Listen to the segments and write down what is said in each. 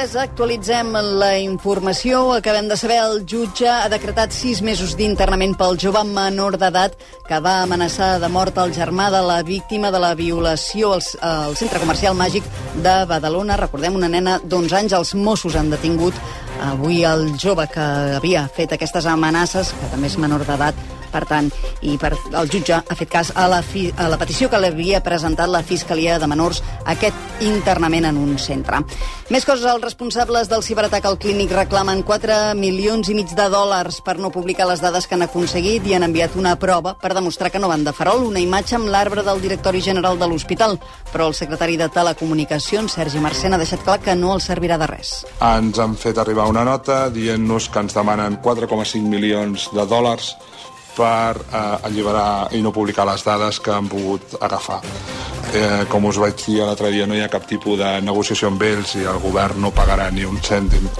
Actualitzem la informació. Acabem de saber, el jutge ha decretat sis mesos d'internament pel jove menor d'edat que va amenaçar de mort al germà de la víctima de la violació al, al centre comercial màgic de Badalona. Recordem, una nena d'11 anys, els Mossos han detingut avui el jove que havia fet aquestes amenaces, que també és menor d'edat, per tant, i per, el jutge ha fet cas a la, fi, a la petició que l'havia presentat la Fiscalia de Menors aquest internament en un centre. Més coses, els responsables del ciberatac al clínic reclamen 4 milions i mig de dòlars per no publicar les dades que han aconseguit i han enviat una prova per demostrar que no van de farol, una imatge amb l'arbre del directori general de l'hospital. Però el secretari de Telecomunicacions, Sergi Marcena, ha deixat clar que no els servirà de res. Ens han fet arribar una nota dient-nos que ens demanen 4,5 milions de dòlars per eh, alliberar i no publicar les dades que han pogut agafar. Eh, com us vaig dir l'altre dia, no hi ha cap tipus de negociació amb ells i el govern no pagarà ni un cèntim.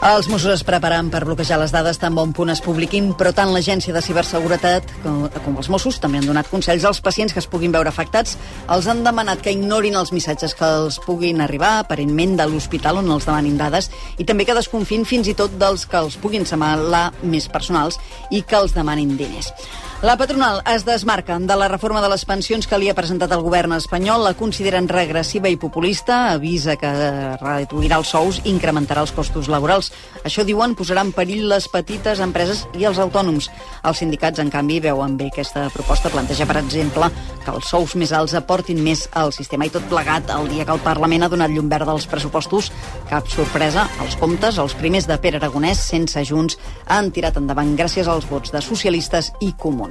Els Mossos es preparen per bloquejar les dades tan bon punt es publiquin, però tant l'Agència de Ciberseguretat com, com els Mossos també han donat consells als pacients que es puguin veure afectats. Els han demanat que ignorin els missatges que els puguin arribar, aparentment de l'hospital on els demanin dades, i també que desconfin fins i tot dels que els puguin semblar més personals i que els demanin diners. La patronal es desmarca de la reforma de les pensions que li ha presentat el govern espanyol. La consideren regressiva i populista, avisa que reduirà els sous i incrementarà els costos laborals. Això, diuen, posarà en perill les petites empreses i els autònoms. Els sindicats, en canvi, veuen bé aquesta proposta. Planteja, per exemple, que els sous més alts aportin més al sistema. I tot plegat, el dia que el Parlament ha donat llum verda als pressupostos, cap sorpresa, els comptes, els primers de Pere Aragonès, sense Junts, han tirat endavant gràcies als vots de socialistes i comuns comuns.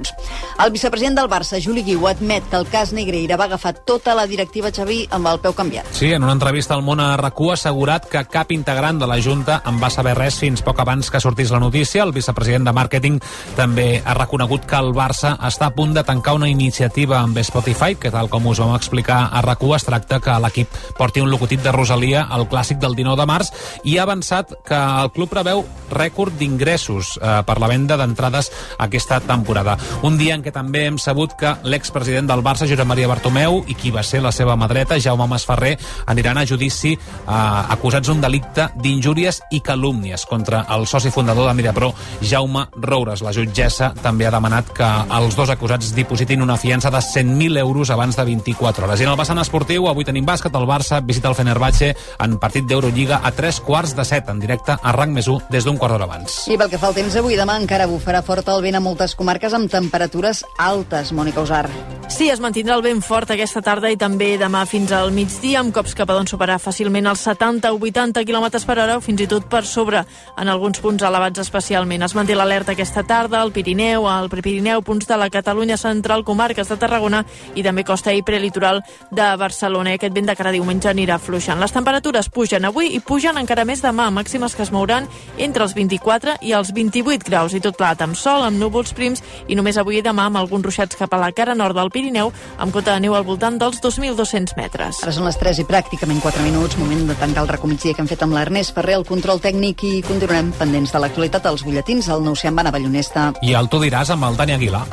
El vicepresident del Barça, Juli Guiu, admet que el cas Negreira va agafar tota la directiva Xavi amb el peu canviat. Sí, en una entrevista al Món a RAC1 ha assegurat que cap integrant de la Junta en va saber res fins poc abans que sortís la notícia. El vicepresident de màrqueting també ha reconegut que el Barça està a punt de tancar una iniciativa amb Spotify, que tal com us vam explicar a RAC1 es tracta que l'equip porti un logotip de Rosalia al clàssic del 19 de març i ha avançat que el club preveu rècord d'ingressos eh, per la venda d'entrades aquesta temporada. Un dia en què també hem sabut que l'expresident del Barça, Josep Maria Bartomeu, i qui va ser la seva mà dreta, Jaume Masferrer, aniran a judici eh, acusats d'un delicte d'injúries i calúmnies contra el soci fundador de Mediapro, Jaume Roures. La jutgessa també ha demanat que els dos acusats dipositin una fiança de 100.000 euros abans de 24 hores. I en el vessant esportiu, avui tenim bàsquet, el Barça visita el Fenerbahçe en partit d'Eurolliga a 3 quarts de 7 en directe a Rang més 1 des d'un quart d'hora abans. I pel que fa al temps avui, demà encara bufarà fort el vent a moltes comarques amb temperatures altes, Mònica Usar. Sí, es mantindrà el vent fort aquesta tarda i també demà fins al migdia, amb cops que poden superar fàcilment els 70 o 80 km per hora o fins i tot per sobre en alguns punts elevats especialment. Es manté l'alerta aquesta tarda al Pirineu, al Prepirineu, punts de la Catalunya central, comarques de Tarragona i també costa i prelitoral de Barcelona. Aquest vent de cara diumenge anirà fluixant. Les temperatures pugen avui i pugen encara més demà, màximes que es mouran entre els 24 i els 28 graus i tot plat amb sol, amb núvols prims i només avui i demà amb alguns ruixats cap a la cara nord del Pirineu amb cota de neu al voltant dels 2.200 metres. Ara són les 3 i pràcticament 4 minuts, moment de tancar el recomitgia que hem fet amb l'Ernest Ferrer, el control tècnic i continuarem pendents de l'actualitat als butlletins al nou Sean Ballonesta. I el tu diràs amb el Dani Aguilar.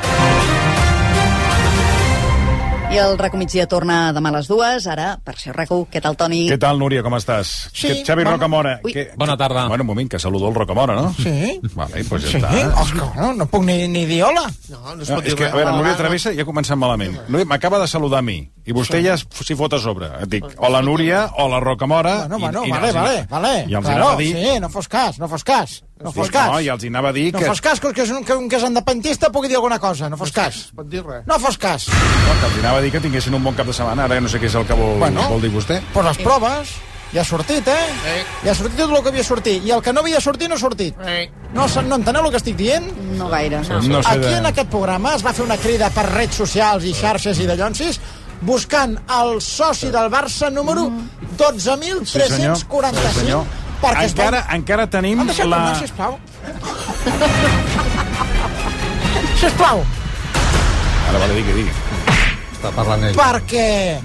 I el recomitgia torna demà a les dues. Ara, per ser rac què tal, Toni? Què tal, Núria, com estàs? Sí, Que- Xavi bon- Rocamora. Ui. que- Bona tarda. Bueno, un moment, que saludó el Rocamora, no? Sí. Vale, doncs ja Sí, està. Òscar, no, no puc ni, ni dir hola. Ah, No, no es No, pot és dir que, a res. veure, Hola, Núria Travessa ja ha començat malament. Núria, M'acaba de saludar a mi, i vostè ja es- s'hi fot a sobre. Et dic, hola, Núria, hola, Rocamora... Bueno, i- bueno, i- vale, vale, vale. I els Claro, anava a dir... Sí, no fos cas, no fos cas. No fos Sí, cas. no, i els hi anava a dir no que- fos cas, que, és un, que un que és independentista pugui dir alguna cosa. No fos cas. No es pot dir res. No fos cas. No, que els hi anava a dir que tinguessin un bon cap de setmana, ara ja no sé què és el que vol, Bueno. vol dir vostè. Pues les proves... Ja ha sortit, eh? Eh. Ja ha sortit tot el que havia sortit. I el que no havia sortit, no ha sortit. Eh. No, se- no enteneu el que estic dient? No gaire. Doncs No sé Aquí de- en aquest programa es va fer una crida per redes socials i xarxes i dallonsis buscant el soci del Barça número Mm. Sí, senyor. 12.345 Sí, senyor. perquè es Encara, encara tenim Em deixeu la... la... tornar, sisplau. sisplau, Ara, vale, digui, digui. Està parlant ell. perquè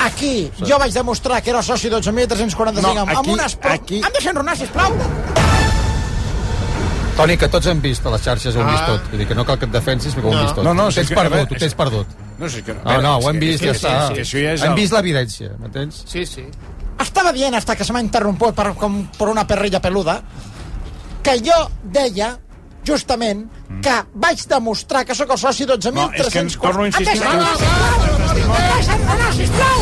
aquí jo vaig demostrar que era soci 12.345 No, amb- aquí- amb unes... pro- aquí- Em deixen ronar, sisplau. Toni, que tots hem vist a les xarxes, ho hem Ah. vist tot. Vull dir que no cal que et defensis, perquè ho hem No. vist tot. No, no, ho sí tens que- a veure, perdut, ho tens és- perdut. No, sí que... Ah, No, no, ho hem vist, que- ja està. és que això ja és hem el- vist l'evidència, m'entens? Sí, sí. Estaba bien hasta que se me interrompió per, com, por una perrilla peluda que jo deia justament que vaig demostrar que sóc el soci 12.300... Mm. No, és que torno a insistir. Em deixen anar, no, sisplau!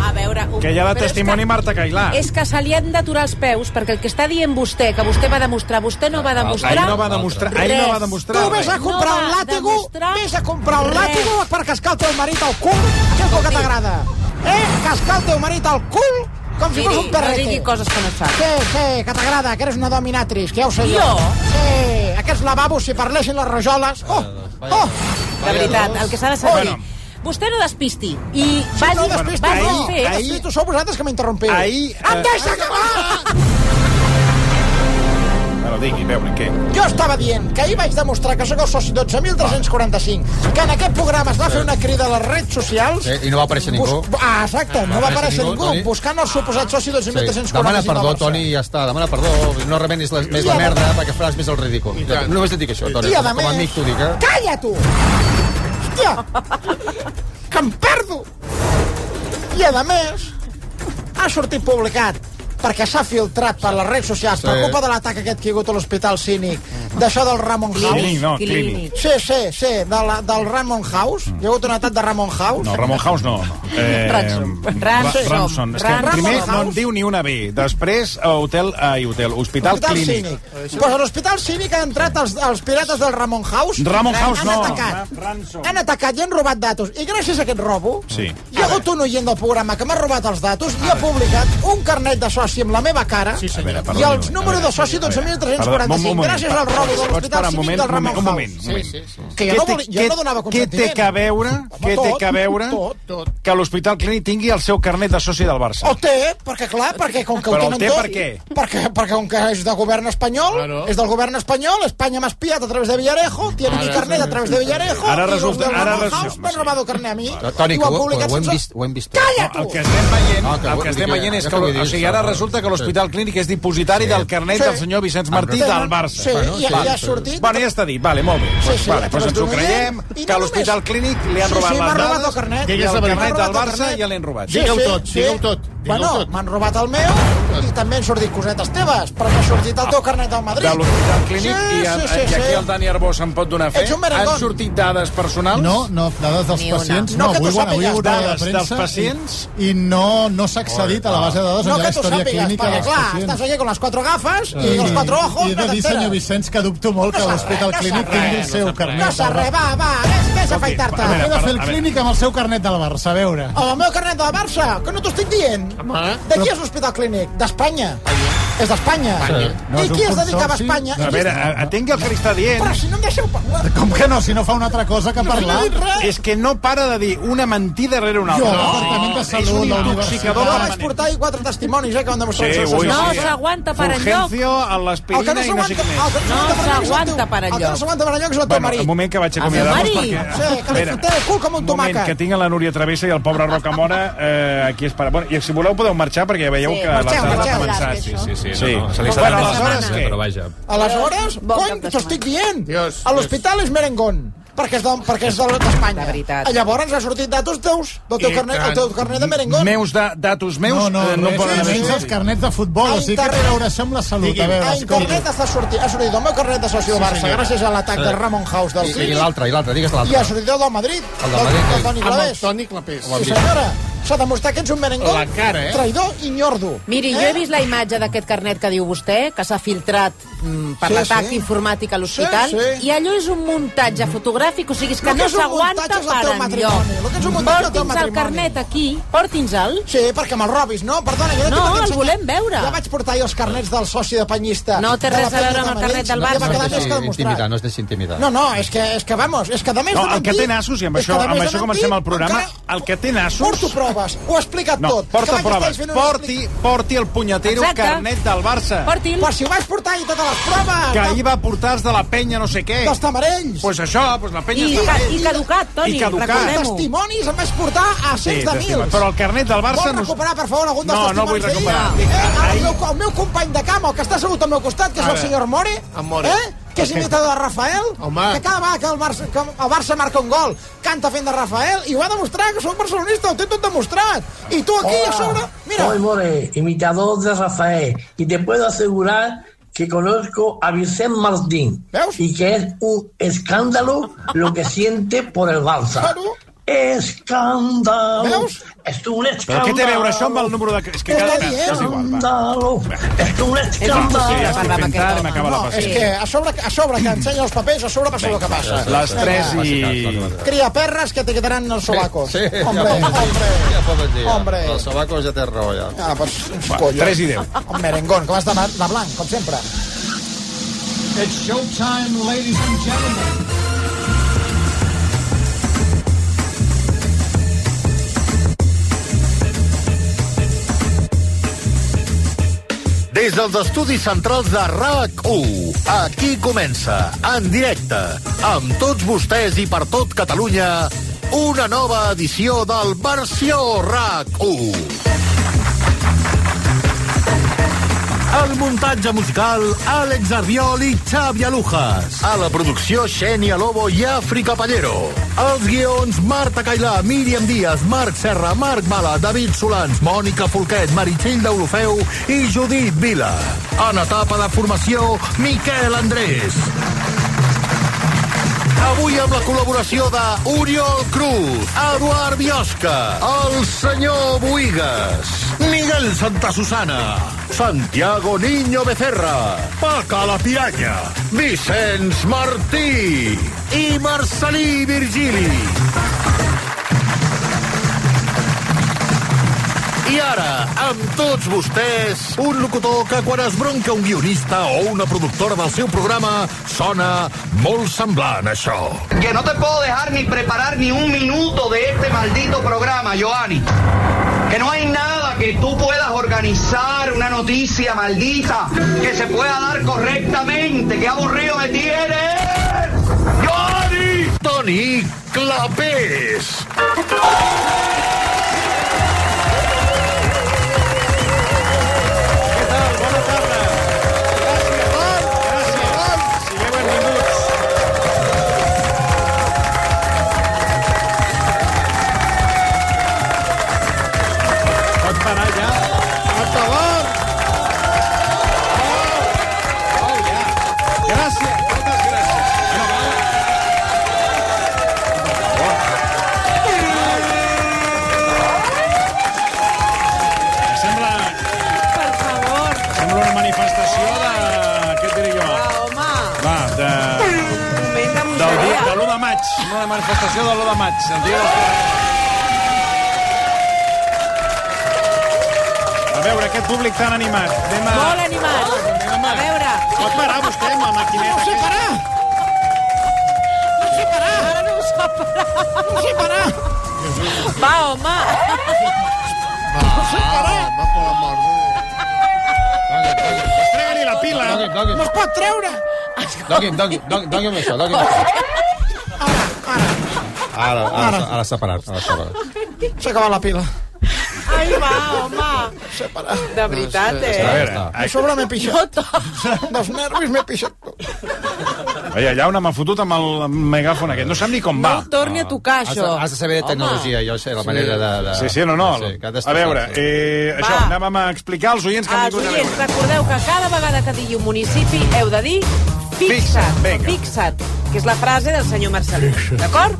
A veure... Un... Que hi ha de però és testimoni Marta Cailà. És que se li han d'aturar els peus, perquè el que està dient vostè, que vostè va demostrar, vostè no va demostrar... Ah, Ahir no va demostrar, ahir no va demostrar Tu vés a res. comprar No un va làtigo, demostrar vés a comprar un res. làtigo per cascar el teu marit al cul, que és el que t'agrada. Eh? Cascar el teu marit al cul com si Miri, fos un no perrete. digui coses que no sap. Sí, sí, que t'agrada, que eres una dominatrix, que ja ho sé jo. Jo? Sí, aquests lavabos, si parlessin les rajoles... Oh, oh! De veritat, el que s'ha de saber... Bueno. Vostè no despisti. I Si vagi, no, després vagi no. fer... Ahir tu sou vosaltres que m'interrompiu. Ahir, Em eh, deixa acabar! Bueno, digui, a veure, què? Jo estava dient que ahir vaig demostrar que sóc el soci 12.345, que en aquest programa es va fer una crida a les redes socials... Sí, i no va aparèixer ningú. Bus... Ah, exacte, no va aparèixer ningú, Toni. Ah. buscant el suposat soci Sí. 12.345. Demana perdó, Toni, i ja està. Demana perdó, no remenis la, més la merda, perquè faràs més el ridícul. Ja, només et dic això, Toni. I a Com més... a amic t'ho dic, eh? Calla, tu! Hòstia! que em perdo! I a més, ha sortit publicat perquè s'ha filtrat per les redes socials per Sí. Mm. culpa de l'atac aquest que hi ha hagut a l'Hospital Cínic d'això del Ramon House. Clínic, no, Clínic. clínic. Sí, sí, sí, de la, del Ramon House. Mm. Hi ha hagut un atac de Ramon House. No, Ramon House no. no. Eh, Ransom. Ra- Ransom. Ramson. És que Ransom. primer no en House. diu ni una B. Després, eh, hotel, ai, hotel, hospital Hospital clínic. Cínic. Pues a l'Hospital Cínic han entrat els, els pirates del Ramon House. Ramon Han- House han no. Atacat. Ra- Ransom. Han atacat i han robat datos. I gràcies a aquest robo, Sí. hi ha hagut un oient del programa que m'ha robat els datos i ha publicat un carnet de soci amb la meva cara sí, A veure, perdoni, i els a números de veure, soci Perdó, un 12.345. moment, Gràcies al robo de pots l'Hospital parar un Cívic moment, del Ramon un moment, House. un moment. Que jo Què no, té- vol, jo què- no donava Què consentiment. té que veure, què té tot, que veure tot, tot. que l'Hospital Clínic tingui el seu carnet de soci del Barça? El té, perquè clar, perquè com que Però ho el tenen té tot... per què? Perquè, perquè com que és de govern espanyol, claro. és del govern espanyol, Espanya m'ha espiat a través de Villarejo, tiene mi carnet a través de Villarejo, Ara i resulta- los del ara Ramon resulta- House m'han robat el carnet a mi. Toni, i que han ho, publicat ho, hem sense- vist, ho hem vist. Calla, tu! El que estem veient, Ah, que el vull que dir estem que- veient és ja que, que vull dir, o sigui, ara sí. resulta que l'Hospital Clínic és dipositari Sí. del carnet Sí. del senyor Vicenç Martí Tenen- del Barça. Sí, Bueno, i ja, sí, ja ha sí. sortit. Bueno, ja està dit, vale, molt bé. Sí, sí, vale, a doncs través ens ho d'un creiem, oient, i no que a l'Hospital només. Clínic li han Sí, robat sí, les m'han robat dades el carnet. i Digues el la veritat. carnet M'han del robat el Barça carnet. ja l'han robat. Sí, Digueu sí, tot, sí. digueu tot, digueu Bueno, tot. m'han robat el meu i també han sortit cosetes teves, perquè ha sortit el teu carnet del Madrid. de l'Hospital Clínic Sí, i, a, sí, sí, i aquí sí. el Dani Arbós em pot donar fe. Ets un merengón. Han sortit dades personals? No, no, dades dels Ni una. pacients, No no, que tu avui, bueno, avui hi sàpigues, haurà de dades premsa dels pacients. i, i no, no s'ha accedit a la base de dades No on hi que ha la tu història sàpigues, clínica perquè dels clar, pacients. estàs allà con les quatre gafes i els quatre ojos, I he de no dir, senyor t'enteres. Vicenç, que dubto molt que No l'Hospital s'arregla, Clínic no tingui el s'arregla, seu No carnet. s'ha res, va, va, vés, vés a afaitar-te. Oh, a He veure. de fer A el clínic amb el seu carnet del Barça, a veure. El meu carnet de la Barça, que no t'ho estic dient. Home. De qui és l'Hospital Clínic? D'Espanya. És d'Espanya. No, I és un qui es dedicava a consorci. Espanya? A veure, eh, a- atengui el que li està dient. Però si no em deixeu parlar. Com que no, si no fa una altra cosa que No parlar? he dit res. És que no para de dir una mentida rere una Jo, altra. al Departament de és Salut, un la intoxicador Jo Universitat... vaig portar ahir quatre testimonis, eh, que van demostrar Sí, el seu ui, No sí. s'aguanta per enlloc. Fulgencio, a El que l'aspirina no i no sé s'aguanta què el més. que no No s'aguanta per enlloc és el teu- el que no s'aguanta per enlloc és el teu Bueno, un marit. moment que Ah, vaig El acomiadar-vos meu perquè... marit. Sí, que li Espera, fotré el cul com un moment, tomàquet. que tinc la Núria Travessa i el pobre Rocamora eh, aquí esperant. Bueno, I si voleu podeu marxar perquè ja veieu Sí, que marxeu, la tarda marxeu. ha Ah, començat. Sí, sí, sí. no, no, se li està bueno, donant la aleshores setmana. què? Però vaja. Aleshores, Bon cap cony, de t'ho estic dient. Dios, a l'hospital és merengón, perquè és de- perquè és de- d'Espanya. De veritat. Ah, Llavors ha sortit datos teus, del teu I carnet, el tant. teu carnet de merengón. Meus de, datos meus No, no, eh, no res, poden haver menys els sortit. carnets de futbol, o sigui que té a veure això amb la salut. A veure, A escolti. internet està sortit, ha sortit el meu carnet de soci del Barça, gràcies a l'atac del Ramon House del I, i Clínic, l'altre, i l'altre, digues i ha l'altre. sortit el del Madrid, El del Madrid, del sí. Toni Amb el Clavés. Toni Clapés. Sí, senyora, s'ha demostrat que ets un merengón, eh? traïdor i nyordo. Eh? Miri, jo he vist la imatge d'aquest carnet que diu vostè, que s'ha filtrat mm, per Sí, l'atac sí. informàtic a l'hospital, Sí, sí. i allò és un muntatge fotogràfic, o sigui, és que Lo que no és un muntatge s'aguanta és el per teu enlloc. matrimoni, lo que és un muntatge és el teu Porti'ns el matrimoni. carnet aquí, porti'ns-el. Sí, perquè me'l robis, no? Perdona, jo no, No, tinc temps el aquí. volem veure. Ja vaig portar jo els carnets del soci de Panyista. No té de la res a veure Penya amb el de carnet Madrid, del i Barça. va No quedar es més que deixi intimidar, demostrat. no es deixi intimidar. No, no, és que, és que vamos, és que de més No, de el que mentir- té nassos, i amb és que això, de més amb de això mentir, comencem el programa, encara- el que té nassos... Porto proves, ho he explicat No, tot. que porta vaig estar proves. fent una Porti, explica- porti el punyetero Exacte. carnet del Barça. Porti'l. Però si ho vaig portar ahir totes les proves! Que del- ahir va portar els de la penya no sé què. Dels tamarells! Pues això, pues la penya I, està ca- bé. I caducat, Toni, I caducat. recordem-ho. testimonis em vaig portar a cents de t'estima. mils! Però el carnet del Barça... Vol recuperar, per favor, algun dels No, no vull testimonis d'ahir? recuperar. Eh, el, meu, el meu company de camp, el que està assegut al meu costat, que és el Ara. senyor More, En More. Eh? que és imitador de Rafael, Home. que cada vegada que el, Barça, que el Barça marca un gol canta fent de Rafael i ho ha demostrat, que sóc barcelonista, ho té tot demostrat. I tu aquí Oh. a sobre... Mira, Soy More, imitador de Rafael, y te puedo asegurar que conozco a Vicente Martín ¿Veos? y que es un escándalo lo que siente por el Barça. Claro. Escándalo. ¿Veos? Es un Però escándalo. què té a veure això amb el número de... És que cada... Està dient. És igual, va. Escándalo. Es un Sí, escándalo. ja estic fent tard i m'acaba la no, és pastilla. que a sobre, a sobre que ensenya els papers, a sobre passa el que passa. Les 3 i... Cria perres que te quedaran en els sobacos. Sí, hombre, ja poden dir. hombre. Ja poden dir. Hombre. El Sabaco ja té raó, ja. Ah, pues, Va, collo. 3 i 10. Un merengón, que vas de, de blanc, com sempre. It's showtime, ladies and gentlemen. Des dels estudis centrals de RAC1, aquí comença, en directe, amb tots vostès i per tot Catalunya, una nova edició del Versió RAC1. El muntatge musical, Àlex Arbiol i Xavi Alujas. A la producció, Xènia Lobo i Àfrica Pallero. Els guions, Marta Cailà, Míriam Díaz, Marc Serra, Marc Mala, David Solans, Mònica Folquet, Meritxell d'Olofeu i Judit Vila. En etapa de formació, Miquel Andrés. Avui amb la col·laboració de Oriol Cruz, Eduard Biosca, el senyor Boigas, Miguel Santa Susana, Santiago Niño Becerra, Paca la Piranya, Vicenç Martí i Marcelí Virgili. I ara, amb tots vostès, un locutor que quan es bronca un guionista o una productora del seu programa sona molt semblant a això. que no te puedo dejar ni preparar ni un minuto de este maldito programa, Joanny. Que no hay nada que tú puedas organizar, una noticia maldita, que se pueda dar correctamente. ¡Qué aburrido me tienes! ¡Joanny! Toni Clapés. Pot parar ja? Oh, Gràcies, moltes gràcies. Em sembla... Per favor. Sembla una manifestació de... Què et diré jo? Home, Va, de... moment de Del dia, de l'1 de maig. Una manifestació de l'1 de maig. El dia dels- A veure, aquest públic tan animat. Anem a... Molt animat. A veure. Pot parar vostè amb la maquineta? No sé parar! Va, home. Va, per la mort. Trega-li la pila! Dogui, dogui, No es pot treure! dogui, dogui, dogui, dogui amb això, dogui amb això. Ara, ara, ara, ara s'ha parat, ara s'ha parat. S'ha acabat la pila. Ai, va, home. De veritat, A eh? veure, A sobre m'he pixat. Dels nervis m'he pixat tot. ai, allà on m'ha fotut amb el megàfon aquest. No sap ni com va. No torni a tocar, Has de, això. has de saber de tecnologia, jo sé la manera de... de... Sí, sí, no, no. que ha A d'estar- veure, eh, això, Va. anàvem a explicar als oients que han Ah, Els vingut a oients, veure. recordeu que cada vegada que digui un municipi heu de dir fixa't, vinga. fixa't, que és la frase del senyor Marcelí, d'acord?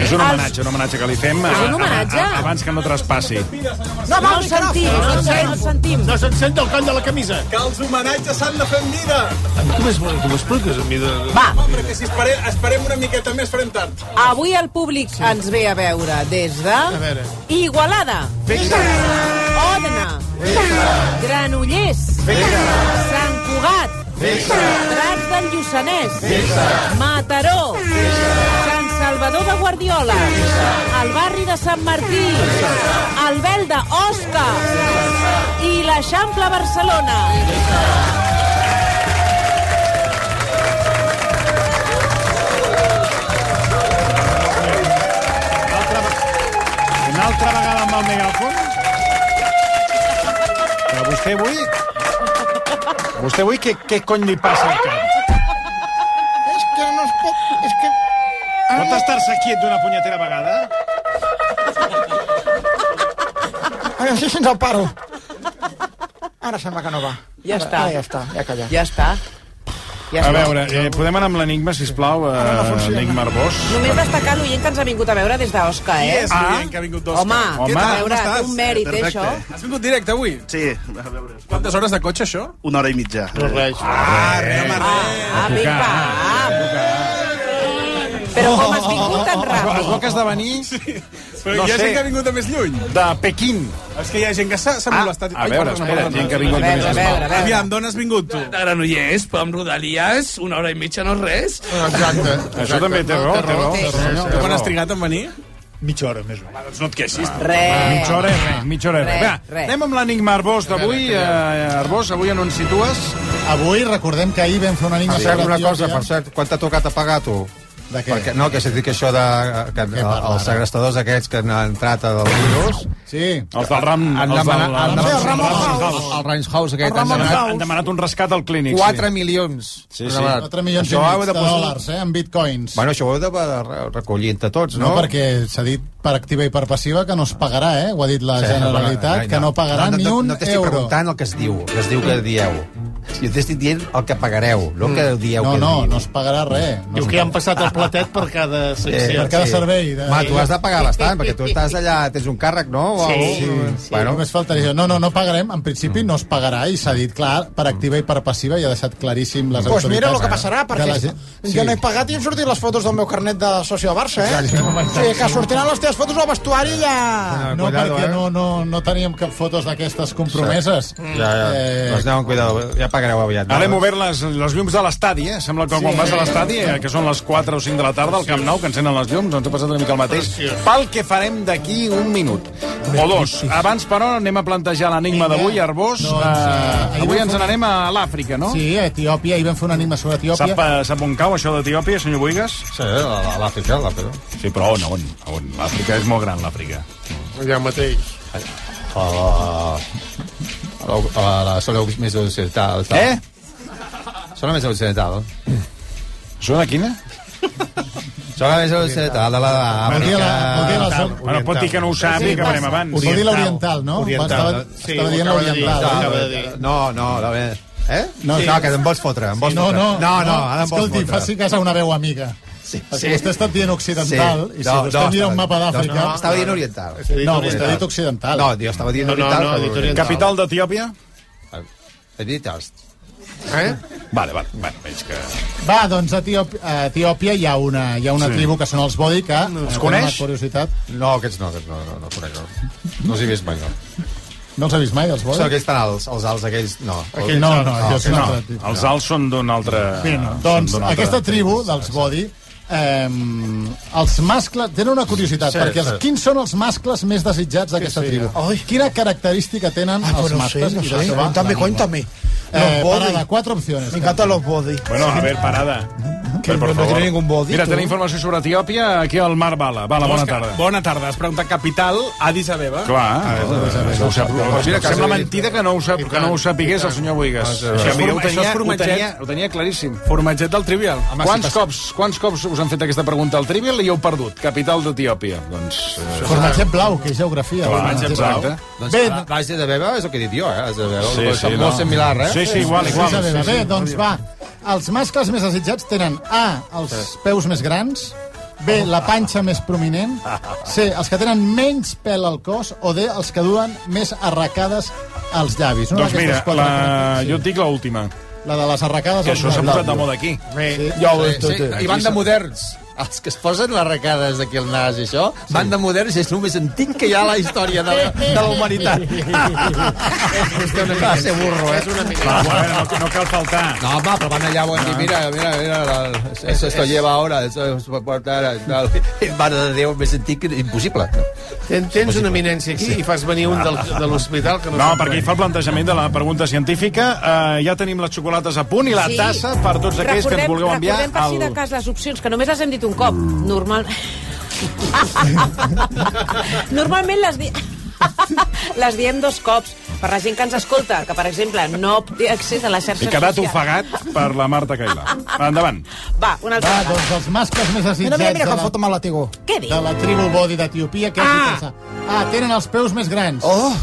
És un homenatge, un homenatge que li fem a- un homenatge? a- a- abans que no traspassi. No, No el sentim, no el sentim, no el sentim. No se'n sent del coll de la camisa. Que els homenatges s'han de fer amb mida. Va, Hombre, que si esperem, esperem una miqueta més farem tard. avui el públic ens ve a veure des de veure. Igualada, Òdena, Granollers, Sant Cugat, Prats del Lluçanès, Mataró, Sant Salvador de Guardiola, el barri de Sant Martí, el Belda, Osca i l'Eixample Barcelona. Una altra vegada amb el megàfon? Però vostè avui... Vostè avui què, què cony li passa al cap? Pot estar-se quiet d'una punyetera vegada? A veure, si se'ns el paro. Ara sembla que no va. Ja està. Ara ja està, ja callat. Ja està. Ja a està. veure, eh, podem anar amb l'enigma, sisplau, eh, enigma Arbós? Només destacar l'oient que ens ha vingut a veure des d'Osca, Qui eh? és l'oient que ha vingut d'Osca? Home, Home, a com veure, estàs? un mèrit, eh, Perfecte. això? Has vingut directe avui? Sí. A veure. Quantes hores de cotxe, això? Una hora i mitja. No res. Ah, res, home, res. Ah, vinga, Però com has vingut tan ràpid? Es veu que has de venir... Però No hi ha sé. gent que ha vingut de més lluny. De Pequín. És que hi ha gent que s'ha s'ha molestat. a veure, espera, gent que ha vingut de A veure, més a veure, lluny. a veure. Aviam, d'on has vingut, tu? De Granollers, però amb Rodalies, una hora i mitja no és res. Exacte. Això també té raó, té raó. té raó. Tu quan has trigat en venir? Mitja hora, més o menys. Doncs no et queixis. Res. Mitja hora és res, mitja hora és res. Res, Va, anem amb l'enigma Arbós d'avui. Eh, Arbós, avui en on situes? Avui recordem que ahir vam fer una enigma Passem sobre una cosa, Etiòpia. per cert, quan t'ha tocat apagar, tu? De què? Perquè, no, que s'ha dit que això de... Que, què el- parla, els segrestadors aquests que han entrat a del virus... Sí. Els del Ram... Han els del- demanat... el Ramon Han demanat House. el Rams House El aquest. han Ramon demanat- House. Han demanat un rescat al clínic. 4 milions. Sí, sí. 4 milions Això i heu mig de, de posar- dòlars, eh, en bitcoins. Bueno, això ho heu de re- recollir entre tots, No, no? perquè s'ha dit per activa i per passiva que no es pagarà, eh? Ho ha dit la Sí, Generalitat, però- que no pagarà no, ni no, un No t'estic euro. preguntant el que es diu, que es diu que dieu. Jo t'estic dient el que pagareu, no el que dieu No, que no, diu. Ah, no es pagarà res. No Diu es que han passat el platet per cada Sí, Per cada sí. servei. De... Ma, tu has de pagar bastant, perquè tu estàs allà, tens un càrrec, no? O- sí. Bueno. Només faltaria. No, no, no pagarem. En principi no es pagarà i s'ha dit clar, per activa i per passiva i ha deixat claríssim les Pues autoritats. Doncs mira lo que passarà, perquè de eh? la sí. gent. jo no he pagat i han sortit les fotos del meu carnet de soci de Barça, eh? Exacte. O sigui, que sortiran les teves fotos al vestuari i ja... No, eh. perquè no, no, no teníem cap fotos d'aquestes compromeses. Mm. Ja, ja. Eh... Doncs aneu amb cuidado, ja pagareu aviat. Ara hem obert les, les llums de l'estadi, eh? Sembla que Sí. quan vas a l'estadi, eh, que són les 4 o 5 de la tarda, al Camp Nou, que encenen les llums, ens ha passat una mica el mateix. Pel que farem d'aquí un minut. O dos. Abans, però, anem a plantejar l'enigma d'avui, Arbós. Eh, avui ens n'anem a l'Àfrica, no? Sí, a Etiòpia, ahir vam fer un enigma sobre Etiòpia. Sap, eh, sap on cau això d'Etiòpia, senyor Boigas? Sí, a l'Àfrica, a l'Àfrica. Sí, però on, on? on? L'Àfrica és molt gran, l'Àfrica. Allà mateix. A la... A la zona més occidental. Tal. Eh? Zona més occidental. Zona quina? Zona més occidental de la... Vol dir la- vol dir la zona- Bueno, pot dir que no ho sàpiga, que anem abans. Vol dir l'oriental, no? Estava, estava dient l'oriental. No, no, la ve... Eh? No, Sí. no, que em vols fotre, em vols no, fotre. no, no, no, ara em vols escolti, fotre. faci cas a una veu amiga. Sí, perquè vostè està dient occidental, Sí. i si No, vostè no, mira un estava- mapa d'Àfrica... no, no, estava dient oriental. No, vostè ha dit occidental. No, jo estava dient No, no, oriental. no, ha dit oriental. Capital d'Etiòpia? Eh, He dit Ast. Eh? Vale, vale, vale, veig que... Va, doncs a Etiòpia, a Etiòpia hi ha una, hi ha una Sí. sí. tribu que són els Bodi, que... Els tenen coneix? una Curiositat. No, aquests no, aquests no, no, no conec. No, no els he vist mai, no. No els ha vist mai, els Bodi? Són aquells tan alts, els alts aquells, no. Aquells No, no, alts. Ah, jo sé un altre tipus. Els alts són d'un altre... Sí, no. Doncs són d'un Ah, altre- aquesta tribu dels Bodi, eh, els mascles... Tenen una curiositat, Sí, sí, perquè els, sí. quins són els mascles més desitjats d'aquesta tribu? Quina característica tenen Ah, pues els no sé, mascles? no I sé. d'això va Cuéntame, l'enigma. cuéntame. Eh, Los body. parada, quatre opcions. Me encantan los body. Bueno, a ver, parada. Que no tiene ningún body, Mira, tú. tenim informació sobre Etiòpia, aquí al Mar Bala. Bala, bona Òscar, tarda. Bona tarda. Has preguntat capital, Addis Abeba. Clar, eh, ho sap, doncs mira, que sembla mentida que no ho, sap, que no ho sapigués el senyor Ah, Boigas. Això és Això, mira, ho forma- això tenia, és ho, formatget. tenia, ho tenia claríssim. Formatget del Trivial. Home, si Quants passa- cops, quants cops us han fet aquesta pregunta al Trivial i heu perdut? Capital d'Etiòpia. Doncs... eh, Formatge blau, que és geografia. Formatge blau. Doncs Bé, la- l'Asia de Beba és el que he dit jo, eh? L'Asia de Beba, Sí, sí, sí, sí, no. molt similar, eh? Sí, sí, igual, igual. Sí, bé, Sí, bé, sí. doncs va. Els mascles més desitjats tenen A, els peus més grans, Oh. B, la panxa més prominent, C, els que tenen menys pèl al cos, o D, els que duen més arracades als llavis. Una Doncs mira, d'aquestes quatre la... característiques. jo et dic l'última. La de les arracades Que als això s'ha llavis. posat de moda aquí. Sí. eh. I van de moderns. Els que es posen les arracades d'aquí al nas i això, van de moderns i és el més antic que hi ha a la història de, de la humanitat. Vostè una mica ser burro, eh? És una mica. Va, Ah, bueno, no, no cal faltar. Ah. No, home, però van allà, van dir, mira, mira, mira, la- eso esto lleva ahora, eso es porta ara, i tal. I Mare de Déu, més antic, que- impossible. Ten, tens una eminència aquí i fas venir un del, de l'hospital que no... No, se'n perquè hi fa el plantejament de la pregunta científica. Uh, ja tenim les xocolates a punt i la Sí. tassa per tots aquells que ens vulgueu enviar. Mm. Recordem, per si de cas, les opcions, que només les hem dit un cop. Normal... Normalment les... Di... les diem dos cops per la gent que ens escolta, que, per exemple, no té accés a les xarxes He quedat socials. ofegat per la Marta Cailà. Endavant. Va, una altra. Va, doncs els mascles més desitjats... Mira, mira, mira de com la- foto Què diu? De la tribu Bodi d'Etiopia, que ah! és Kinshasa. Ah, tenen els peus més grans. Oh!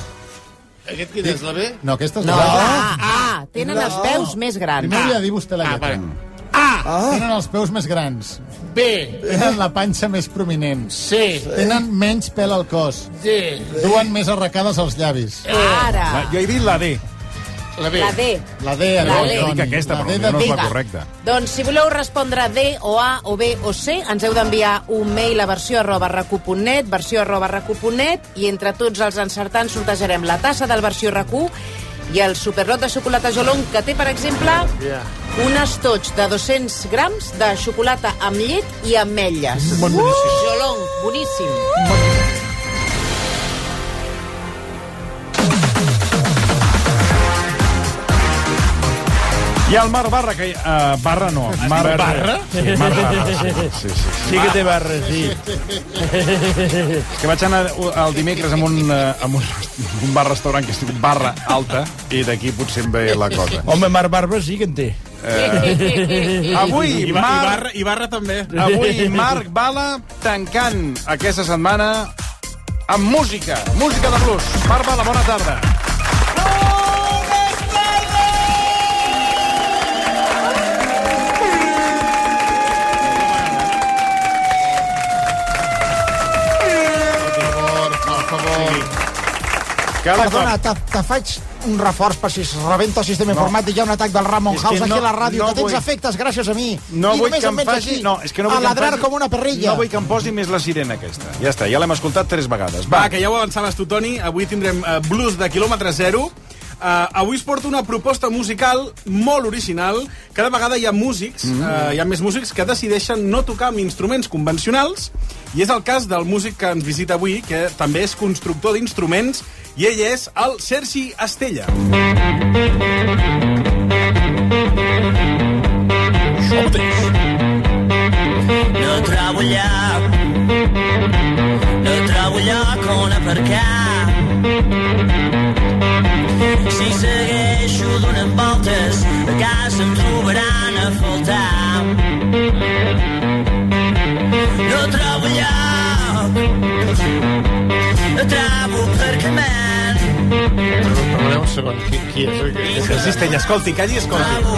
Aquest quin és, la B? No, aquesta és No. la... Ah, tenen els peus més grans. Primer hauria de dir Ah, vostè la lletra. Ah, Tenen els peus més grans. B. Tenen la panxa més prominent. Sí. Tenen menys pèl al cos. D. Duen més arracades als llavis. Ara. Eh. Va, Jo he dit la D. La La D. La D, La Jo D. dic aquesta, D però de no és la Vega. correcta. Doncs si voleu respondre D o A o B o C, ens heu d'enviar un mail a versió arroba recu.net, versió arroba recu.net, i entre tots els encertants sortejarem la tassa del versió recu i el superlot de xocolata Jolong, que té, per exemple, un estoig de 200 grams de xocolata amb llet i ametlles. Bon boníssim. Jolong, boníssim. I el Marc Barra, que... Uh, barra no. Marc Barra? Sí, Marc Barra. Sí, sí, sí. Sí que té barra, sí. És que vaig anar el dimecres amb un, eh, amb un, un bar-restaurant que es diu Barra Alta i d'aquí potser em ve la cosa. Home, Marc Barba sí que en té. Eh, avui, I ba- i Marc... Barra- i Barra també. Avui, Marc Bala tancant aquesta setmana amb música, música de blues. Marc Bala, bona tarda. Perdona, te, te faig un reforç per si es rebenta el sistema no. informàtic. Hi ha un atac del Ramon És que House aquí no- a la ràdio, no que tens vull- efectes gràcies a mi. No I vull només que em vens faci... aquí No, és que no vull a ladrar que em faci... com una perrilla. No vull que em posi més la sirena aquesta. Ja està, ja l'hem escoltat tres vegades. Va, Va, que ja ho avançaves tu, Toni. Avui tindrem eh, blues de quilòmetre zero. Uh, avui es porta una proposta musical molt original. Cada vegada hi ha músics, Mhm. mm -hmm. uh, hi ha més músics que decideixen no tocar amb instruments convencionals i és el cas del músic que ens visita avui, que també és constructor d'instruments i ell és el Sergi Estella. No treballar No treballar con aparcar Si segueixo donant voltes a casa em trobaran a faltar No treballar No trabo per camar Perdoneu un segon, qui, qui és? És el Cistella, escolti, calli, escolti.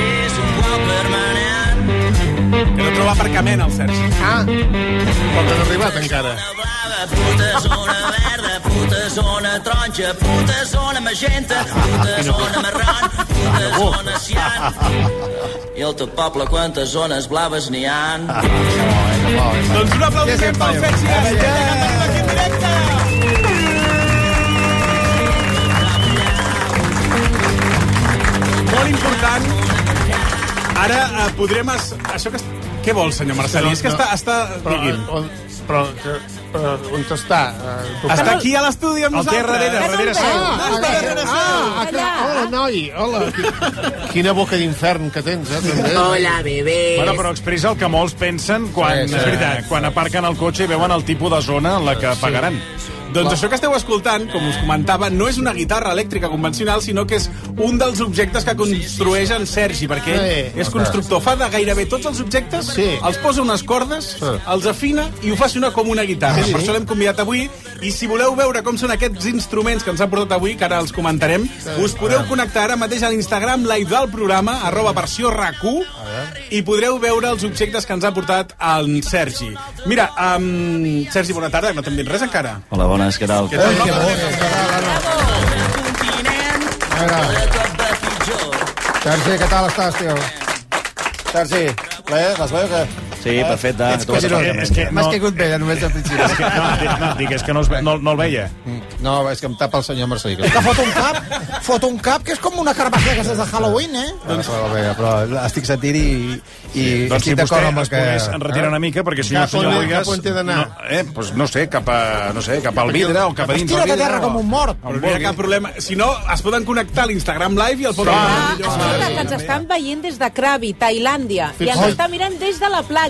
És un guau permanent Que no troba aparcament, el Sergi. Ah, Quan t'han arribat encara? puta zona verda, puta zona taronja, puta zona magenta, Ah, puta zona marron, puta zona cian. I al teu poble quantes zones blaves n'hi Ah, ha? Doncs un aplaudiment pel Sergi Estella, que tenim aquí en directe. Molt important. Ara eh, podrem... Es... Això que... es- Què vol, senyor Marcelí? És que està... està... Però, Digui'm. eh, on, però, que, però on està? Eh, tu- Està aquí a l'estudi amb El té nosaltres. darrere, Que no el darrere seu. veu. Ah, Està darrere seu. Ah, clar. Hola, noi, hola. Quina boca d'infern que tens, eh? També. Hola, bebé. Bueno, però expressa el que molts pensen quan, Sí, sí. eh, És veritat. quan aparquen el cotxe i veuen el tipus de zona en la que pagaran. Doncs això que esteu escoltant, com us comentava, no és una guitarra elèctrica convencional, sinó que és un dels objectes que construeix en Sergi, perquè Sí. ell és constructor. Fa de gairebé tots els objectes, Sí. els posa unes cordes, els afina i ho fa sonar com una guitarra. Sí. Per això l'hem convidat avui. I si voleu veure com són aquests instruments que ens han portat avui, que ara els comentarem, us podeu connectar ara mateix a l'Instagram live del programa, arroba versió RAC1, i podreu veure els objectes que ens ha portat en Sergi. Mira, um, Sergi, bona tarda, que no t'hem dit res encara. Hola, bones, què tal? Què tal, home? Sergi, què tal estàs, tio? Sergi, plaer, les veu que... Sí, perfecte. Ets Tu vas collirot. aparcament, És que ja. m'has caigut bé, només al principi. És que, no, di- no, dic, és que no, es, ve- no, no el veia. No, és que em tapa el senyor Marcelí. Que... Que fot un cap, fot un cap que és com una carbassa que és de Halloween, eh? Doncs... Però, bé, però estic sentint i... i sí, doncs si vostè es pogués enretirar Eh? una mica, perquè si no, Cap senyor on- Boigas... cap on he d'anar? No, eh, doncs no sé, cap a, no sé, cap al vidre o cap a dins. Estira't a terra com un mort. Però no hi ha cap problema. Si no, es poden connectar a l'Instagram Live i el poden... Ah, escolta, que ens estan veient des de Krabi, Tailàndia, i ens Fixa't. està mirant des de la platja.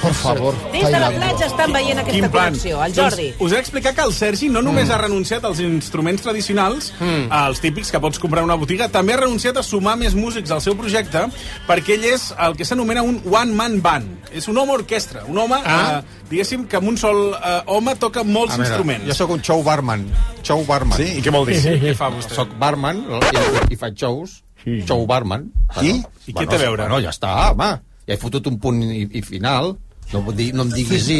Por favor. Des de la platja estan veient Quin aquesta plan? connexió, el Jordi. Doncs us he explicat que el Sergi no només Mm. ha renunciat als instruments tradicionals, als típics que pots comprar a una botiga, també ha renunciat a sumar més músics al seu projecte perquè ell és el que s'anomena un one-man band. És un home orquestra, un home, Ah. eh, diguéssim, que amb un sol eh, home toca molts instruments. Jo sóc un show barman. Show barman. Sí? I què vol dir? Sí, Què fa vostè? Soc barman i, i faig shows. Sí. Show barman. Sí? I què té a veure? Bueno, ja està, home. Ja he fotut un punt i, i final. No, em di- no em diguis sí.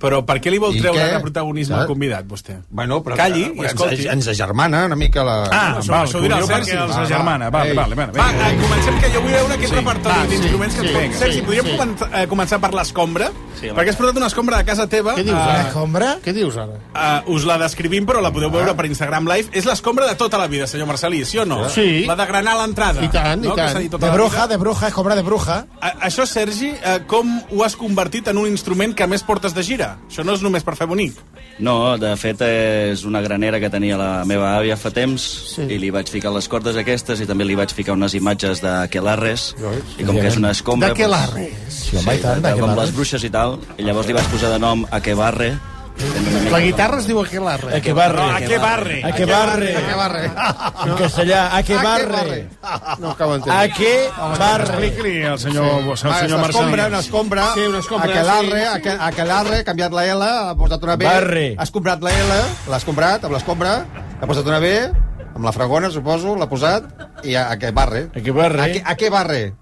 Però per què li vol I treure què? de protagonisme Saps? al convidat, vostè? Bueno, però... Calli i ens, escolti. Ens agermana una mica la... Ah, això, això ho dirà el Sergi, els de germana. Vale, vale, vale, va, eh, comencem, que jo vull veure aquest Sí, sí, va, repertori sí, d'instruments que sí, ens veig. sí, Sergi, sí, podríem sí. comen- eh, començar per l'escombra? Sí, la- perquè has portat una escombra de casa teva. Ah. Què dius, eh, ara? Escombra? Què dius ara? eh, us la descrivim, però la podeu veure per Instagram Live. És l'escombra de tota la vida, senyor Marcelí, sí o no? Sí. La de granar a l'entrada. I tant, i no? Que tant. s'ha dit tota De la bruja, vida. de bruja, escombra de bruja. A- Això, Sergi, eh, com ho has convertit en un instrument que a més portes de gira? Això no és només per fer bonic. No, de fet és una granera que tenia la meva àvia fa temps sí. i li vaig ficar les cordes aquestes i també li vaig ficar unes imatges de quelarres i com que és una doncs, escombra... D'aquelarre. Sí, home, i tant, Doncs, com d'aquelarre. les bruixes i tal, i llavors li vaig posar de nom a Quebarre. La guitarra es diu Aquelarre. Aquebarre. No, Aquebarre. A que barre. A que barre. En castellà, a que barre. No acabo d'entendre. A que barre. Expliqui al senyor, al senyor Ah, una escombra, Marcelí. una escombra, Sí, una escombra, aquelarre, sí, sí. aque- aquelarre, ha canviat la L, ha posat una B, Barre. has comprat la L, l'has comprat amb l'escombra, ha posat una B, amb la fragona, suposo, l'ha posat, i a, a que barre. A que barre. A que, a que barre.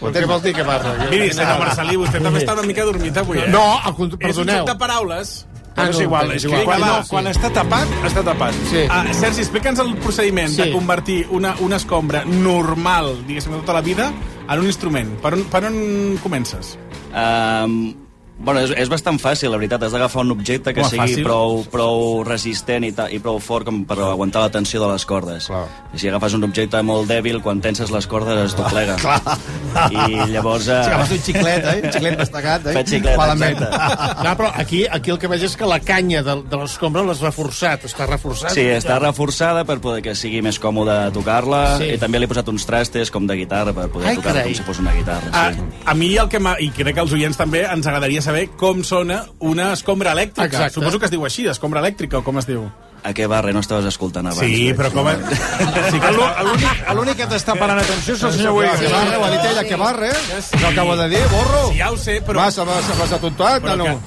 Què vol dir que barre? Miri, senyor Marcelí, vostè també està una mica dormit avui, eh? No, al cont- És un perdoneu. joc de paraules. Ah, Ah, no, és igual, és és igual. que quan, No, no, sí. quan està tapat, està tapat. Sí. Ah, Sergi, explica'ns el procediment Sí. de convertir una, una escombra normal, diguéssim, de tota la vida, en un instrument. Per on, per on comences? Um, bueno, és, és bastant fàcil, la veritat. Has d'agafar un objecte que Home, sigui fàcil. prou, prou resistent i, ta, i prou fort com per aguantar la tensió de les cordes. Clar. I si agafes un objecte molt dèbil, quan tenses les cordes es doblega. Clar. I llavors... eh, Si agafes un xiclet, eh? Un xiclet destacat, eh? Fa xiclet, Malament. exacte. No, però aquí, aquí el que veig és que la canya de, de l'escombra l'has reforçat, està reforçat. Sí, està reforçada per poder que sigui més còmode tocar-la Sí. sí. i també li he posat uns trastes com de guitarra per poder Ai, tocar-la carai. Ah. com si fos una guitarra. A, a mi el que m'ha- i crec que als oients també ens agradaria saber com sona una escombra elèctrica. Exacte. Suposo que es diu així, escombra elèctrica, o com es diu? A què barre? No estaves escoltant abans. eh? Sí, veig. però com a- Sí que està- L'únic que t'està parant atenció és el senyor Williams. Que barre, ho ha dit ella, que barre. No acabo de dir, borro. Sí, ja ho sé, però... Vas, vas, vas atontat, Però no? que-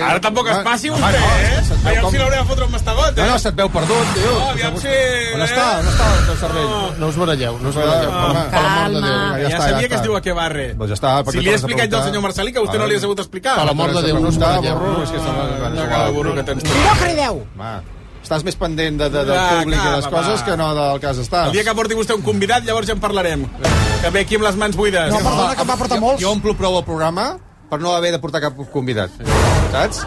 Ara tampoc es passi Home, vostè, no, eh? se't veu Aviam com- si l'hauré de fotre un mastegot, eh? No, no, se't veu perdut, tio. No, aviam si... eh? On està? On està el teu cervell? No us baralleu, no us baralleu. Home, per l'amor de Déu. Ja, està, sabia ja que es està. diu a què barre. Doncs ja està, per si què li he tornes a explicat jo al preguntar? senyor Marcelí, que a vostè no li has hagut explicar. Ah, Per l'amor de Déu, no està, borro. És que Cada burro que tens tu. No crideu. Estàs més pendent de, de, del Ah, públic i de les acaba, coses va. que no del cas estàs. El dia que porti vostè un convidat, llavors ja en parlarem. Que ve aquí amb les mans buides. No, perdona, que em va portar molts. Jo, jo omplo prou el programa per no haver de portar cap convidat. Saps?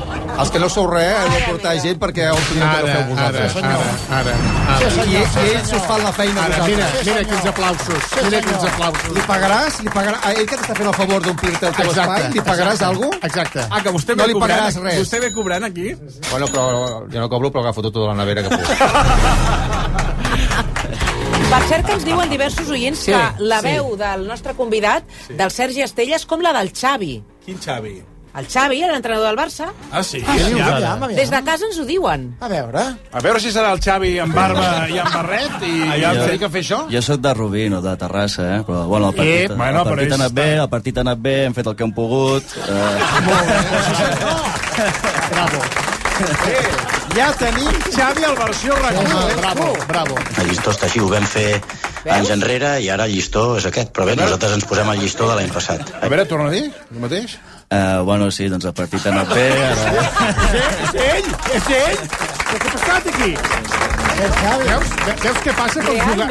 Els que no sou res heu de portar gent perquè omplin el que no feu vosaltres. ara, ara, ara. I, i, Sí, i senyor. ells us fan la feina Ara, vosaltres. mira, mira quins aplausos. Sí, mira senyor. quins aplausos. Li pagaràs? Li pagarà... a Ell que t'està fent el favor d'omplir-te el teu Exacte, espai, li pagaràs exacte. alguna cosa? Exacte. Ah, que vostè no ve li cobrant, pagaràs res. Vostè ve cobrant aquí? Bueno, però jo no cobro, però agafo tota la nevera que puc. Per cert que ens diuen diversos oients Sí, que la sí. veu del nostre convidat, del Sergi Estella, és com la del Xavi. Quin Xavi? El Xavi, l'entrenador del Barça, Ah, sí? Ah, Ja, ja. des de casa ens ho diuen. A veure... A veure si serà el Xavi amb barba i amb barret i Ah, ja jo- em dedica a fer això. Jo sóc de Rubí, no de Terrassa, eh? Però, bueno, Eh, el partit, bueno, però el partit ells ha anat bé, el partit ha anat bé, hem fet el que hem pogut. Eh, Ja tenim Xavi al versió eh? recull. Bravo, bravo. El llistó està així, ho vam fer anys enrere i ara el llistó és aquest. Però bé, nosaltres ens posem al llistó de l'any passat. A veure, torna a dir el mateix. eh, bueno, sí, doncs el partit ha anat bé. Ara... És ell, és ell. Què ha passat aquí? Veus, veus què passa per jugar,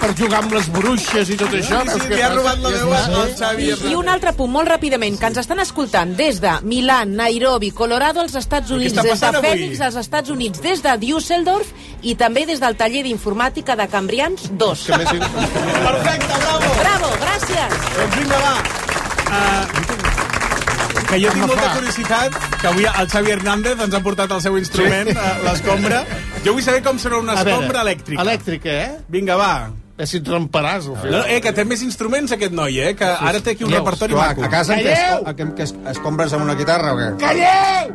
per jugar amb les bruixes i tot això? Sí, sí, Veus què li ha passa? robat la I és veu a- massa. al I, I un altre punt, molt ràpidament, que ens estan escoltant des de Milan, Nairobi, Colorado, als Estats Units, està des de passant avui? Phoenix, als Estats Units, des de Düsseldorf i també des del taller d'informàtica de Cambrians 2. Perfecte, bravo! Bravo, gràcies! Doncs vinga, va. Uh, que jo tinc molta curiositat que avui el Xavi Hernández ens ha portat el seu instrument, Sí. eh, l'escombra. Jo vull saber com serà una A veure, escombra elèctrica. Elèctrica, eh? Vinga, va. És si et tremparàs, al No, eh, que té més instruments aquest noi, eh? Que ara té aquí un Veus? repertori Clar, maco. A casa em que, es, a, que, es, es compres amb una guitarra o què? Calleu!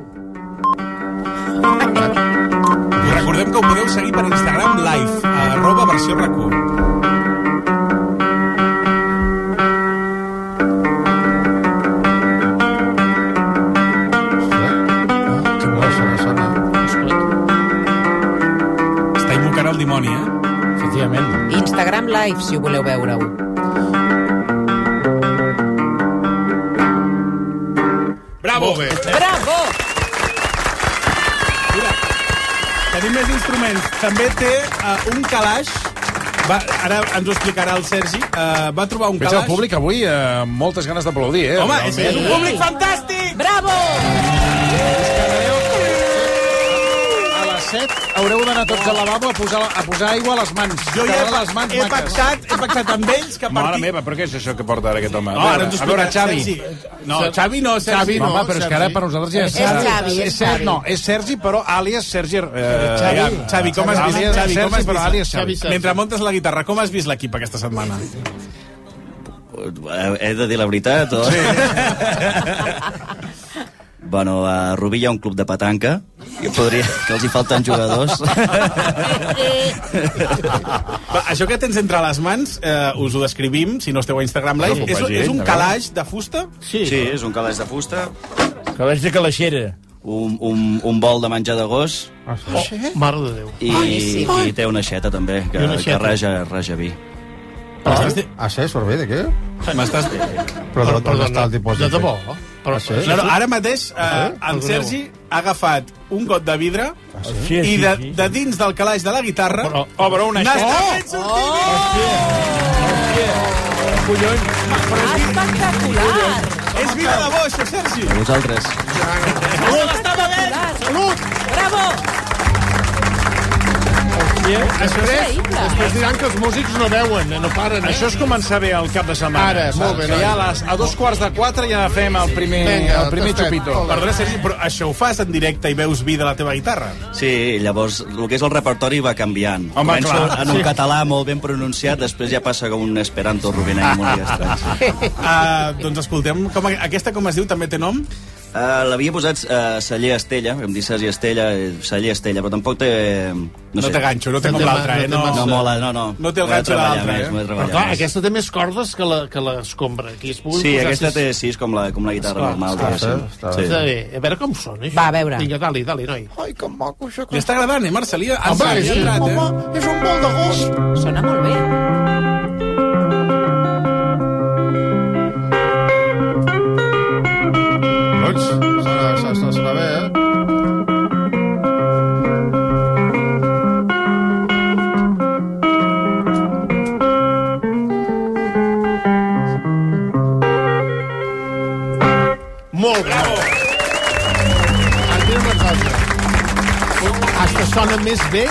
Recordem que ho podeu seguir per Instagram live, a arroba versió RAC1. Que bo, sona, sona. Està invocant el dimoni, eh? Efectivament. Instagram Live, si ho voleu veure-ho. Bravo! Bé. Bravo! Tenim més instruments. També té uh, un calaix. Va, ara ens ho explicarà el Sergi. Uh, va trobar un Veig el calaix... públic avui eh, amb moltes ganes d'aplaudir, eh? Home, és, és un públic fantàstic! Bravo! A les 7 haureu d'anar tots al lavabo a posar, a posar aigua a les mans. Jo ja Quedaran he, les mans he maques. pactat, he pactat amb ells que a Mare partir... meva, però què és això que porta ara aquest home? No, A ara ens ho veure, a veure, explica Xavi. Sergi. No, Xavi no, Sergi. Home, No, però és que Sergi. ara per nosaltres ja És Xavi, és és Ser- Xavi. No, és Sergi, però àlies Sergi... Eh, Xavi, Xavi, com has Àlies vist? Xavi, com Sergi, has però àlies vist? Xavi. Mentre montes la guitarra, com has vist l'equip aquesta setmana? Eh, He de dir la veritat, o...? bueno, a Rubí hi ha un club de petanca, que, podria, que els hi falten jugadors. Va, això que tens entre les mans, eh, us ho descrivim, si no esteu a Instagram No, Live. no, és, vagi, és un a veure. calaix de fusta? sí, és un calaix de fusta. Calaix de calaixera. Un, un, un bol de menjar de gos. Ah, Mare de Déu. I, i té una xeta, també, que, I una que aixeta. raja, raja vi. Ah, ah, sí, sorbet, de què? M'estàs... Però d'on d'on està el dipòsit? de debò, Però, ah, sí? No, no, ara mateix eh, Ah, sí? en Perdoneu. Sergi ha agafat un got de vidre sí? i Sí, de, sí, sí. de dins del calaix de la guitarra oh, obre una N'està aixeta. fent sortir! Collons! Espectacular! És vida de bo, això, Sergi! A vosaltres. Estava bé! Salut! Bravo! Després, després diran que els músics no veuen, no paren. Eh? Això és començar bé el cap de setmana. Ara, molt bé, Que noi. ja a, les, a dos quarts de quatre ja fem el primer, el primer xupito. Perdona, Sergi, però això ho fas en directe i veus vida a la teva guitarra? Sí, llavors el que és el repertori va canviant. Home, Comença clar. en un Sí. català molt ben pronunciat, després ja passa com un esperanto rubinenc molt estrany. uh, doncs escoltem, com, a- aquesta com es diu també té nom? Uh, L'havia posat uh, Celler Estella, vam dir Sergi Estella, eh, Celler Estella, però tampoc té... eh, No, No sé. té ganxo, no té No com té ma- l'altra, eh, no té no. massa. no mola, no, no. No té el M'ho he de ganxo de treballar l'altra, més, eh? m'ho he de treballar Però clar, més. aquesta té més cordes que la, que l'escombra. Aquí es puguin Sí, posar aquesta sis- té sis com la, com la Esclar, guitarra normal. esclar, diguéssim. està- Sí. Està bé. A veure com sona, això. Va, a veure. Vinga, dali, dali, noi. Ai, que maco, això. Li està agradant, eh, Marcelí? Ens Home, havia sí, entrat, eh? És un bol de gos. Sona molt bé. Collons, sona, sona, sona bé, eh? Molt bé. Bravo. Una cosa. Hasta sona més bé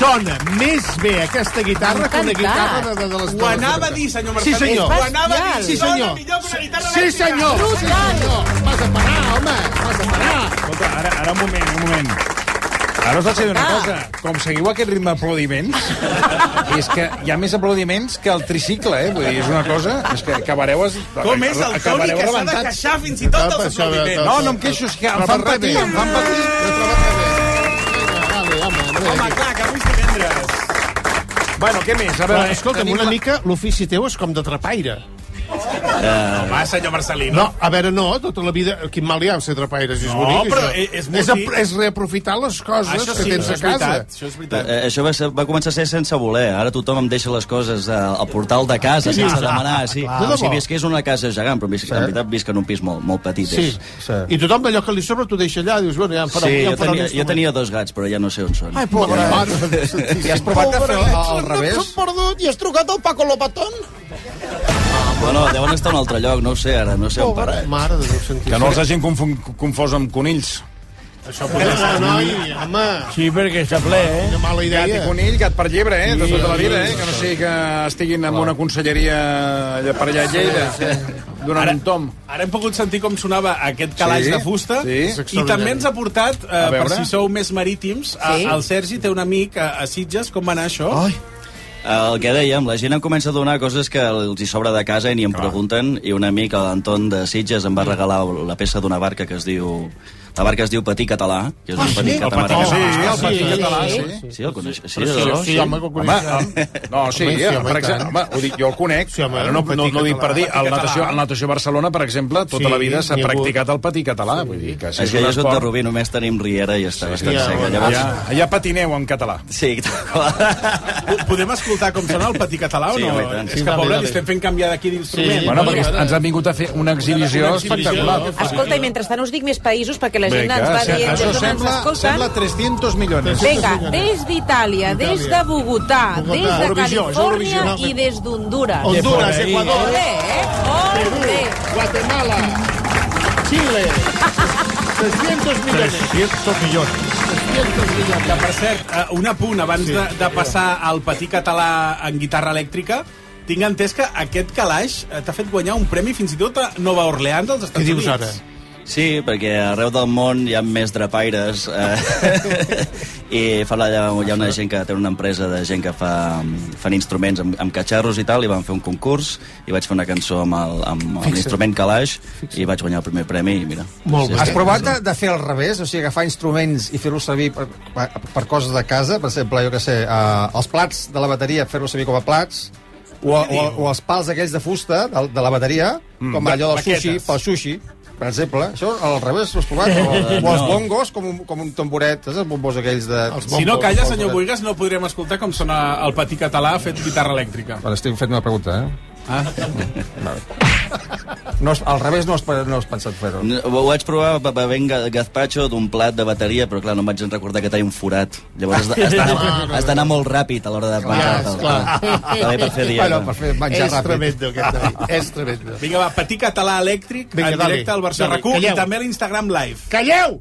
sona més bé aquesta guitarra que una guitarra de, de, de les Ho dues. anava a dir, senyor Sí, Mercader. senyor. Ho anava a dir. Sí, Sona senyor. millor que una guitarra Sí, elèctrica. senyor. Sí, senyor. Vas a parar, home. Vas a parar. Escolta, ara, ara un moment, un moment. Ara us vaig dir una Ah. cosa. Com seguiu aquest ritme d'aplaudiments, és que hi ha més aplaudiments que el tricicle, eh? Vull dir, és una cosa... És que acabareu... Es... Com és el Toni acabareu que s'ha de rebentats. queixar fins i tot dels aplaudiments? No, no em queixo, és que em fan patir, em fan patir. Home, clar, que avui és divendres. Bueno, què més? A veure, Però, escolta'm, tenim una la- mica l'ofici teu és com de trapaire. Home, senyor Marcelí, No, a veure, no, tota la vida... Quin mal hi ha en ser trapaire, si és No, bonic, però això. és- és bonic. ap- és reaprofitar les coses Això que sí, tens això a és casa. veritat, això és veritat. Eh, això va, ser, va començar a ser sense voler. Ara tothom em deixa les coses eh, al portal de casa, Què sense dius? demanar. Sí, Ah, Clar. com De si debò? visqués una casa gegant, però visc, en veritat visc en un pis molt, molt petit. Sí. és. I tothom allò que li sobra t'ho deixa allà, dius, bueno, ja em farà, Sí, ja jo em farà tenia, un jo tenia dos gats, però ja no sé on són. Ai, pobre. Ja no- I has provat de fer el- al revés? S'han perdut i has trucat al Paco Lopatón? Bueno, deuen estar a un altre lloc, no ho sé ara, no sé on parar. Mare de Déu, Que no els hagin confon, confós amb conills. Això podria ser. Noi, home... Sí, perquè està ple, eh? Quina mala idea. Gat i conill, gat per llebre, eh? De Sí, tota la vida, sí, eh? Que no sigui que estiguin en una conselleria allà per allà a Lleida, donant un tom. Ara hem pogut sentir com sonava aquest calaix Sí, de fusta sí. És i extraordinari. també ens ha portat, eh, A per veure. si sou més marítims, a, Sí. el Sergi té un amic a, a Sitges, com va anar això? Ai. El que dèiem, la gent em comença a donar coses que els hi sobra de casa i ni em pregunten, i un amic, l'Anton de Sitges, em va regalar la peça d'una barca que es diu... La barca es diu Patí Català, que és un Ah, petit sí? catamarà. El Patí, que- sí, el Patí sí, Català, Sí, sí el coneix. Sí, Però sí, no? sí, home, que el coneix. Home, No, sí, Home, sí, eh, home, per i tant. exemple, home, ho dic, jo el conec, ara no, no, no ho dic per dir, el natació, el natació Barcelona, per exemple, tota Sí, la vida s'ha n'hi ha hagut. practicat el patí català, vull dir que si és que jo soc de Rubí, només tenim Riera i està bastant ja, seca. bueno, Llavors, ja. Allà patineu en català. Sí, Podem escoltar com sona el patí català Sí, o home, no? i tant. és que, pobre, li estem fent canviar d'aquí d'instrument. bueno, perquè ens han vingut a fer una exhibició Una exhibició. espectacular. Escolta, i mentrestant us dic més països perquè la gent Vinga, ens va se- dient, això gent ens sembla- escolta. sembla 300 milions. Vinga, des d'Itàlia, des de Bogotà, Bogotà. des de Eurovisió, és Eurovisió, Califòrnia no? i des d'Honduras. Honduras, Ecuador. Olé, eh? Olé. Guatemala, Xile, 300 milions. 300 milions. Que, per cert, eh, un apunt abans Sí. de, de passar al patí català en guitarra elèctrica, tinc entès que aquest calaix eh, t'ha fet guanyar un premi fins i tot a Nova Orleans als Estats Units. Sí, perquè arreu del món hi ha més drapaires eh, i fa la, hi ha una gent que té una empresa de gent que fa, fan instruments amb, amb catxarros i tal, i vam fer un concurs i vaig fer una cançó amb el- amb Fixa't. l'instrument calaix i vaig guanyar el primer premi i mira. Sí, Has sí. provat de, de fer al revés? O sigui, agafar instruments i fer-los servir per, per, per coses de casa? Per exemple, jo que sé, uh, els plats de la bateria, fer-los servir com a plats? O, o, o els pals aquells de fusta de, de la bateria, Mm. com allò del Baquetes. sushi, pel sushi, per exemple. Això al revés, ho has provat? O, o els No. bongos, com un, com un tamboret, saps? Els bombos aquells de... Doncs Si no calla, senyor Boigas, no podrem escoltar com sona el patí català fet guitarra elèctrica. Bueno, estic fent una pregunta, eh? Ah. No, has- al revés no has, pe- no has pensat fer-ho. No, Ho vaig provar be- bevent ga- gazpacho d'un plat de bateria, però clar, no em vaig recordar que tenia un forat. Llavors has de- has Ah, d'anar- has d'anar molt ràpid a l'hora de menjar-te'l. També per fer dieta. És tremendo, aquest David, és tremendo. Vinga, va, patí català elèctric, Vinga, Vinga, en dale. directe al Barça Dale, RAC1 i calleu. també a l'Instagram Live. Calleu!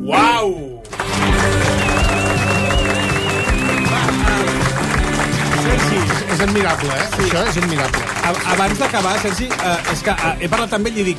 Uau! Sergi, És admirable, eh? Sí. Això és admirable. a- abans d'acabar, Sergi, eh, és que eh, he parlat també i dic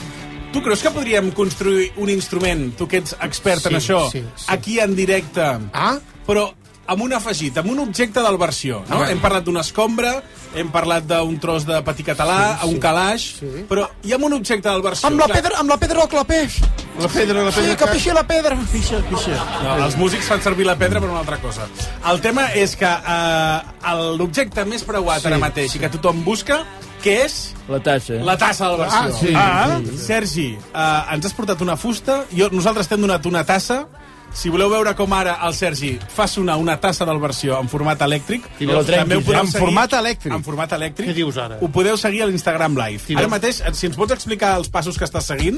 tu creus que podríem construir un instrument, tu que ets expert Sí, en això, sí, aquí en directe, ah? però amb un afegit, amb un objecte del versió, no? A veure. Hem parlat d'una escombra, hem parlat d'un tros de patí català, Sí, sí, sí. un calaix, sí. però hi ha un objecte del versió. Amb la clar. pedra, amb la pedra o clapeix. La pedra, la pedra Sí, que pixi la pedra. Pixa, pixa. No, els músics fan servir la pedra per una altra cosa. El tema és que eh, el- l'objecte més preuat sí, ara mateix i que tothom busca, que és La tassa. la tassa del versió. Ah, sí. Sí. Sergi, eh, ens has portat una fusta, jo, nosaltres t'hem donat una tassa, si voleu veure com ara el Sergi fa sonar una tassa del versió en format elèctric, I no el trenquis, eh? En format elèctric. En format elèctric. Què dius ara? Ho podeu seguir a l'Instagram Live. Sí, ara no? mateix, eh, si ens pots explicar els passos que estàs seguint...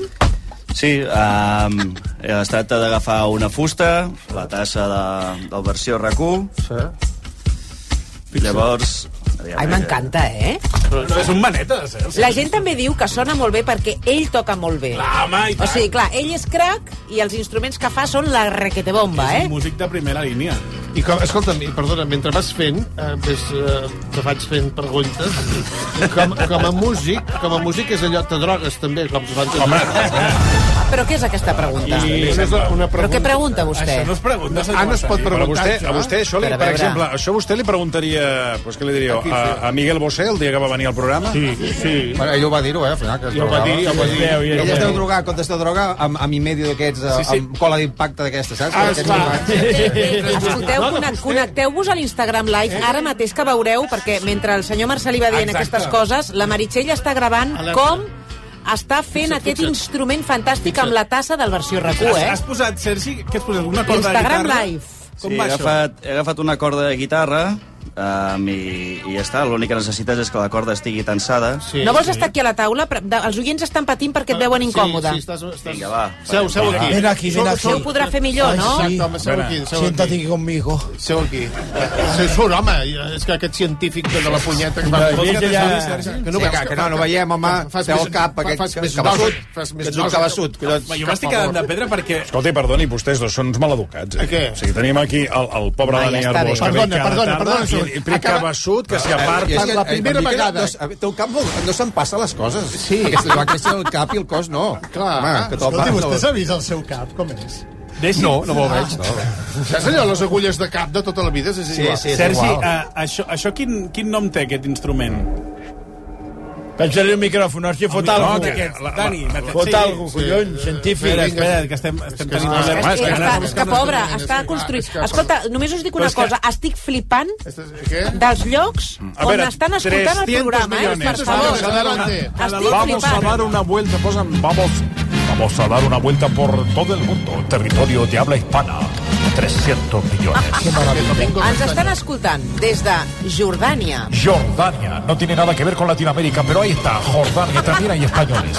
Sí, um, es tracta d'agafar una fusta, la tassa de, del versió RAC1, sí. llavors... Ai, m'encanta, eh? No, és un manetes, eh? La gent també diu que sona molt bé perquè ell toca molt bé. Clar, home, i o tant. sigui, clar, ell és crac i els instruments que fa són la requetebomba, És eh? un músic de primera línia. I com, escolta'm, i perdona, mentre vas fent, eh, ves, eh, te faig fent preguntes, com, com a músic, com a músic és allò, te drogues també, com s'ho fan Home, Però què és aquesta pregunta? I és una pregunta. Però què pregunta vostè? Això no es pregunta, senyor Ah, no es pot Marcelí. preguntar. Però a vostè, a vostè això, li, Per a per veure. exemple, això vostè li preguntaria... Pues, què li diríeu? A, a Miguel Bosé, el dia que va venir al programa? Sí, sí. Bueno, ell ho va dir-ho, eh, al final. Que es Ja ho va drogava. dir, ja ho va dir. Ell Ja ho va es deu dir. drogar, quan es deu drogar, amb, amb i medio d'aquests, Sí, sí, sí. sí. amb cola d'impacte d'aquesta, saps? Ah, Aquests esclar. drogats. Escolteu, No, no, connect- connecteu-vos a l'Instagram Live ara mateix que veureu, perquè mentre el senyor Marcelí va dient Exacte. aquestes coses, la Meritxell està gravant Alerta. com està fent Fixa't, aquest fixa't. instrument fantàstic amb la tassa del versió RAC1, Has, eh? has posat, Sergi, què has posat? Una corda Instagram de guitarra? Live. Com sí, he va això? agafat, he agafat una corda de guitarra Um, i, I ja està, l'únic que necessites és que la corda estigui tensada. Sí, no vols estar aquí a la taula? Però de- Els oients estan patint perquè et veuen incòmode. Vinga, va. Seu, seu aquí. Ven aquí, ven Seu- aquí. seu podrà fer millor, no? Exacte, home, seu Ven, aquí, seu aquí. Siéntate aquí conmigo. Seu aquí. Se surt, home, és que aquest científic de la punyeta que va... No, Vols vés te allà. suri, Sergi? Que no veig, que no, no veiem, home. Té el cap, aquest fas més cabeçut. nosa, Fas Que més ets un cabeçut, collons. Home, Jo jo m'estic quedant de pedra perquè... Escolta, i perdoni, vostès dos són uns maleducats. Eh? Què? O sigui, tenim aquí el, el Ah, pobre Home, ja Dani està bé. Arbós, que Perdona, ve cada perdona, tarda perdona, i, Suri. i primer Acaba- cabeçut que Ah, s'hi I és aparta. que, Ah, eh, Miquel, No, té un cap molt... No se'n passa les coses. Sí. Aquesta, va créixer el cap i el cos no. Clar. Home, que topa. Escolti, vostè Vostè s'ha vist el seu cap? Com és? Deixi. No, no me'l veig. No. Saps allò, les agulles de cap de tota la vida? És igual. Sergi, eh, uh, això, això quin, quin nom té, aquest instrument? Penjaré el micròfon, hòstia, fot No, algo. que- la- la- Dani, la- fot sí, algo, sí. collons, científic. Espera, espera, que estem, estem tenint problemes. és que Estem està- Ah, Que buscant- pobre, està construït. Escolta, només us dic una Però és que- cosa, estic flipant què? dels llocs A on veure, estan escoltant el 300 programa, eh? Per millones. favor, Vamos a dar una- estic Vamos a flipant. dar una vuelta, posa'm, vamos, vamos a dar una vuelta por todo el mundo, territorio de habla hispana, 300 millones. Qué Ens estan escoltant des de Jordània, Jordania, no tiene nada que ver con Latinoamérica, pero ahí está, Jordania, también hay españoles.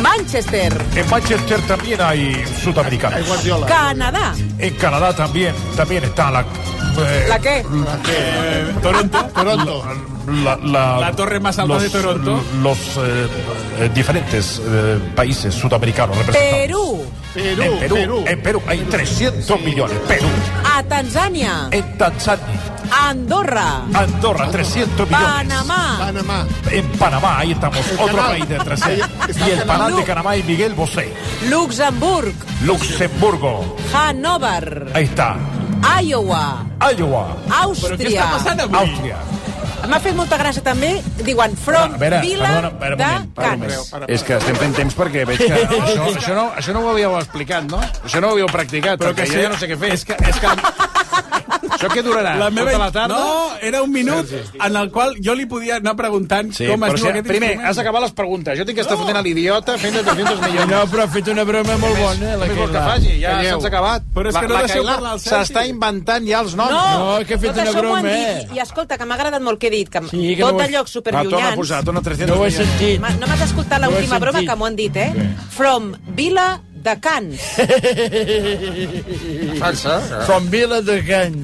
Manchester, En Manchester también hay sudamericanos. Canadà, En Canadá también, también está la... eh, la què? eh, Toronto. Toronto. La, La torre más alta de Toronto. Los eh, eh, diferentes eh, países sudamericanos representados. Perú, en Perú, En Perú hay 300 millones. Perú, a Tanzània, en Tanzania, a Andorra, Andorra, 300 millones. Panamà, Panamà. En Panamá, ahí estamos, El otro canal. país de 300. y el panal de Panamá y Miguel Bosé. Luxemburg, Luxemburgo, Hannover, ahí está. Iowa, Iowa. Àustria. Àustria. M'ha fet molta gràcia també, diuen, from A veure, Vila perdona, espera un de moment, para un Cans. moment. És que estem fent temps perquè veig que... Això, això, no, això no ho havíeu explicat, no? Això no ho havíeu practicat, Però però que perquè sí. jo ja no sé què fer. És que, és que... això què durarà? La meva... Tota la tarda? No, era un minut en el qual jo li podia anar preguntant Sí, com es però diu si- aquest primer, instrument. has d'acabar les preguntes. Jo tinc que estar fotent a l'idiota fent de 200 milions. No, però ha fet una broma molt Més- bona. què més vols eh, que Keila. faci? Ja s'ha acabat. Però és La- que no la deixeu Keila parlar al Sergi. S'està inventant ja els No, noms. que he fet tot una això m'ho han broma, dit. I escolta, que m'ha agradat molt que he dit, que Sí, que tot no ho he- allò Ah, superllunyans... Va, torna a posar, torna 300 No ho he milions. sentit. Ma- No m'has escoltat No ho he l'última broma sentit. que m'ho han dit, eh? From Vila de Cans. França. From Vila de Cans.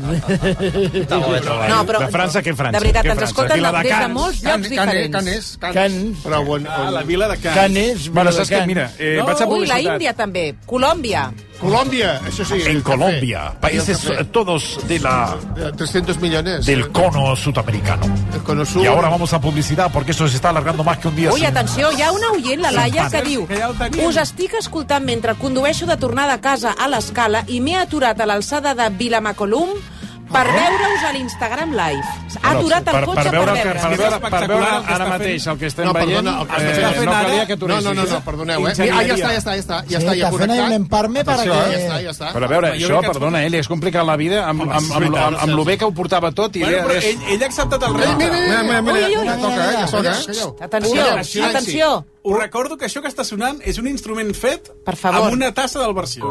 No, però- De França, què França? De veritat, Què ens França? escolten Vila de des de Canes. molts llocs diferents. Cans. Però on, on... Ah, la vila de Cans. Canes, Bueno, saps què? Mira, eh, vaig a Ui, la publicitat. Índia també. Colòmbia. Colòmbia, això sí. En Colombia, países café. eh, todos de la, 300 millones. del cono sudamericano. Con el sur. Y ahora vamos a publicidad porque esto se está alargando más que un día. Ui, sin- atenció, hi ha una oient, la Laia, que Sampana. diu Us estic escoltant mentre condueixo de tornada a casa a l'escala i m'he aturat a l'alçada de Vilamacolum per veure-us a l'Instagram Live. Ha aturat el cotxe per el que- veure-us. per veure, per veure el que ara està fent. mateix el que estem No, veient, perdona, el que està eh, fent no ara- calia que No, aturessis. no, no, no, perdoneu, eh. Ingenieria. Ah, ja està, ja està, ja està, ja està, ja café connectat. en emparme Doncs para Això, eh? que... ja està, ja està. Però a veure, Jo això, crec que- perdona, ell, eh, li has complicat la vida amb, amb, amb, amb, amb, amb lo bé que ho portava tot i Bueno, però res. ell, ell ha acceptat el Ei, repte. mira, mira, mira, mira, Ui, ui, ui. ja toca, eh, ja toca, eh, Xxt, calleu. Atenció, Silenci. atenció. Us recordo que això que està sonant és un instrument fet Per favor. amb una tassa del versió.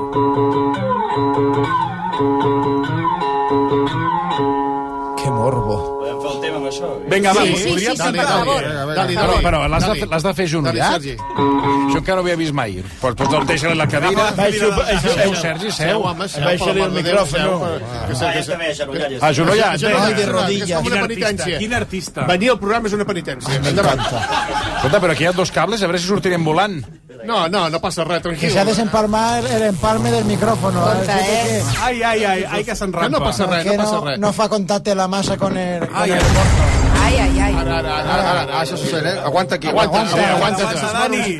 Que morbo. Podem fer un tema amb això? Vinga, va, Sí, us sí, podria- sí, sí, Dani, per Dani, favor. vinga, vinga, Dani, Dani, Dani. però l'has de fer- l'has de fer genollat? Dani, Sergi. Això encara ho havia vist mai. Però tu te'l deixes a la cadira. Baixo- baixo- Seu, Sergi, seu. Seu, home, seu, Baixaré per la el mare de Déu, micròfon. seu, per- que sé, que sé. Ah, genollat. Genollat, eh? de rodillas. És com una Quin penitència. artista. Quin artista. Venir al programa és una penitència. Endavant. Escolta, però aquí hi ha dos cables, a veure si sortirem volant. No, no, no passa res, Que se ha tranquil. desemparmado el empalme del micrófono. Conta, Así que- eh. Ai, ai, ai, ai, que s'enrampa. Que no passa res, que no passa res. No fa contacte la massa con el... con el- Ai, ai, ai. Ara, ara, ara, ara, ara, això succeeix, eh? Aguanta aquí. Aguanta, Aguanta, aguanta, aguanta, aguanta, Dani.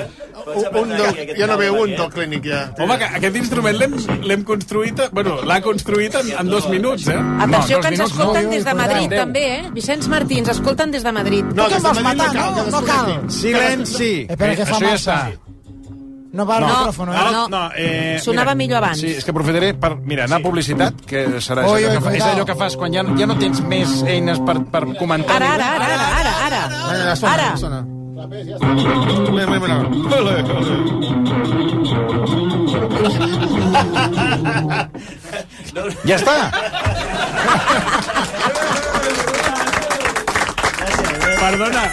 Un, un del, ja no veu un del clínic, ja. Home, que aquest instrument l'hem l'hem construït... Bueno, l'ha construït en, en dos minuts, eh? Atenció, que ens escolten des de Madrid, també, eh? Vicenç Martí, ens escolten des de Madrid. No, des de Madrid no cal, que desconnecti. Silenci. Espera, Eh, que fa Això ja massa. està. No va No, al micrófono, Ah, eh? Ah, no, no, eh, Sonava mira, millor abans. Sí, és que aprofitaré per, mira, anar a publicitat, que serà això, Oi, que oi, fa, és cuidao. allò que fas quan ja, ja no tens més eines per, per comentar. Ara, ara, ara, ara, ara, Ja ara. sona, Ara. ja sona. Mira, mira, mira. Ja està. Perdona,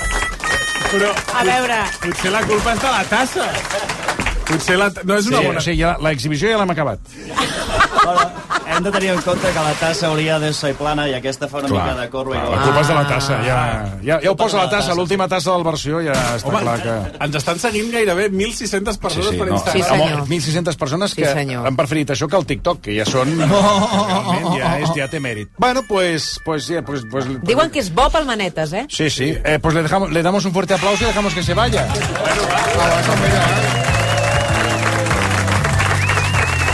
però... A veure... Potser la culpa és de la tassa. Potser la... No és una sí, bona... Sí, ja, l'exhibició ja l'hem acabat. Hem de tenir en compte que la tassa hauria de ser plana i aquesta fa una Clar, mica de Ah, corba. La culpa és de la tassa, ja... Ja, ja ho posa la tassa, l'última tassa del versió, ja està Home, clar que... Ens estan seguint gairebé 1.600 persones Sí, per no, Instagram. amb 1.600 persones que Sí, senyor. han preferit això que el TikTok, que ja són... Realment, ja, és, ja té mèrit. Bueno, pues, pues, ja, pues, pues, Diuen que és bo pel Manetes, eh? Sí, sí. Eh, pues le, dejamos, le damos un fuerte aplauso y dejamos que se vaya.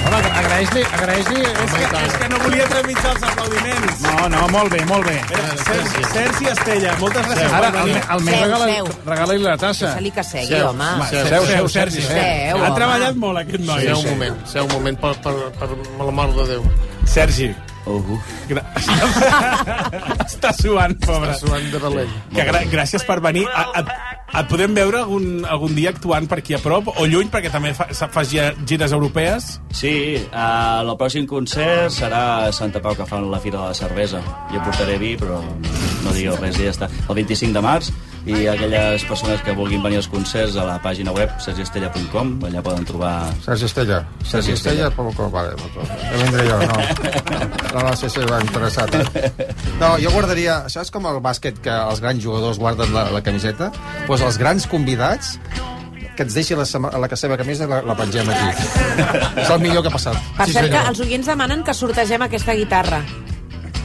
Home, agraeix-li... Agraeix és, que, és que no volia trepitjar els aplaudiments. No, no, molt bé, molt bé. Sergi, Eh, Sergi Estella, moltes gràcies. Ara, per venir. alme- almenys regala- regala-li la tassa. Se li que segui, Seu, home. va, seu, seu, seu, Sergi, seu. Seu, Ha home. treballat molt, aquest noi. Seu Sí, un sí. moment, seu un moment, per, per, per, la mort de Déu. Sergi. Uh -huh. Està suant, pobre. Està suant de valent. Que gra gràcies per venir. A, a, et podem veure algun, algun dia actuant per aquí a prop o lluny, perquè també fa, sa- fas gi- gires europees. Sí, eh, el pròxim concert serà a Santa Pau, que fan la Fira de la Cervesa. Jo portaré vi, però no digueu res i ja està. El 25 de març, i aquelles persones que vulguin venir als concerts a la pàgina web sergiestella.com, allà poden trobar... Sergi Estella. Sergi Estella, Pablo Cor, vale. no, Ja vindré jo, no. No, no sé si va interessat. Eh? No, jo guardaria... Saps com el bàsquet que els grans jugadors guarden la, la camiseta? Doncs pues els grans convidats que ens deixi la, sema- la seva camisa i la, la pengem aquí. És el millor que ha passat. Per cert, que els oients demanen que sortegem aquesta guitarra.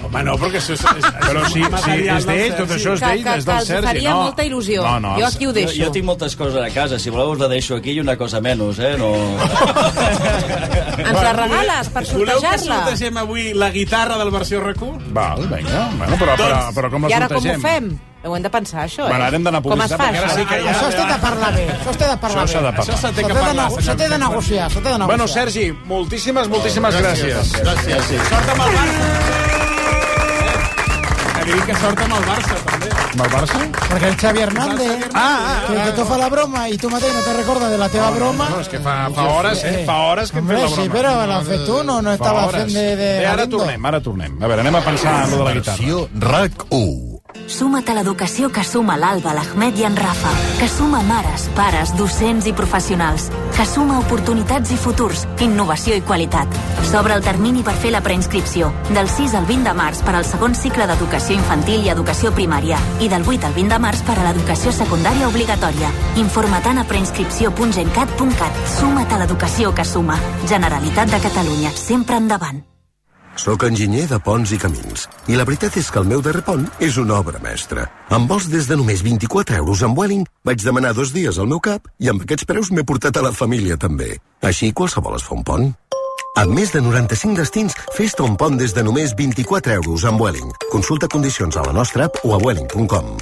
Home, no, perquè això és... és Però sí, sí, és d'ell, tot això és Que- d'ell, que- és que del els Sergi. faria molta il·lusió. No, no, Jo aquí ho deixo. Jo, jo tinc moltes coses a casa. Si voleu us la deixo aquí i una cosa menys, eh? No... Ens la regales per Voleu que sortejar-la? sortegem avui la guitarra del versió Doncs- RAC1? Val, vinga. Bueno, però, però, però com I la ara com ho sortegem? fem? Ho hem de pensar, això, eh? Bueno, ara hem d'anar a Com es publicitat, fa, perquè ara això? sí que ja- Això s'ha de parlar bé. Això s'ha de parlar Això s'ha de bé. parlar. Això s'ha de que de parlar, nego- S'ha de senyor. negociar, s'ha de negociar. Bueno, Sergi, moltíssimes, moltíssimes gràcies. Gràcies. Sort amb el Barça. Que digui que sort amb el Barça, també. Amb el Barça? Perquè el Xavi Hernández, Ah, que, que tu fa la broma i tu mateix no te recordes de la teva broma... No, és que fa, fa hores, eh? Fa hores que hem fet Hombre, la sí, broma. però l'han fet tu, no, no Fa estava hores. fent de... de Bé, ara tornem, ara tornem. A veure, anem a pensar en lo de la guitarra. RAC1. Suma't a l'educació que suma l'Alba, l'Ahmed i en Rafa, que suma mares, pares, docents i professionals, que suma oportunitats i futurs, innovació i qualitat. S'obre el termini per fer la preinscripció, del 6 al 20 de març per al segon cicle d'educació infantil i educació primària i del 8 al 20 de març per a l'educació secundària obligatòria. Informa't a preinscripció.gencat.cat. Suma't a l'educació que suma. Generalitat de Catalunya, sempre endavant. Soc enginyer de ponts i camins, i la veritat és que el meu darrer pont és una obra mestra. Amb vols des de només 24 euros amb Welling, vaig demanar dos dies al meu cap i amb aquests preus m'he portat a la família també. Així qualsevol es fa un pont. Amb més de 95 destins, fes-te un pont des de només 24 euros amb Welling. Consulta condicions a la nostra app o a welling.com.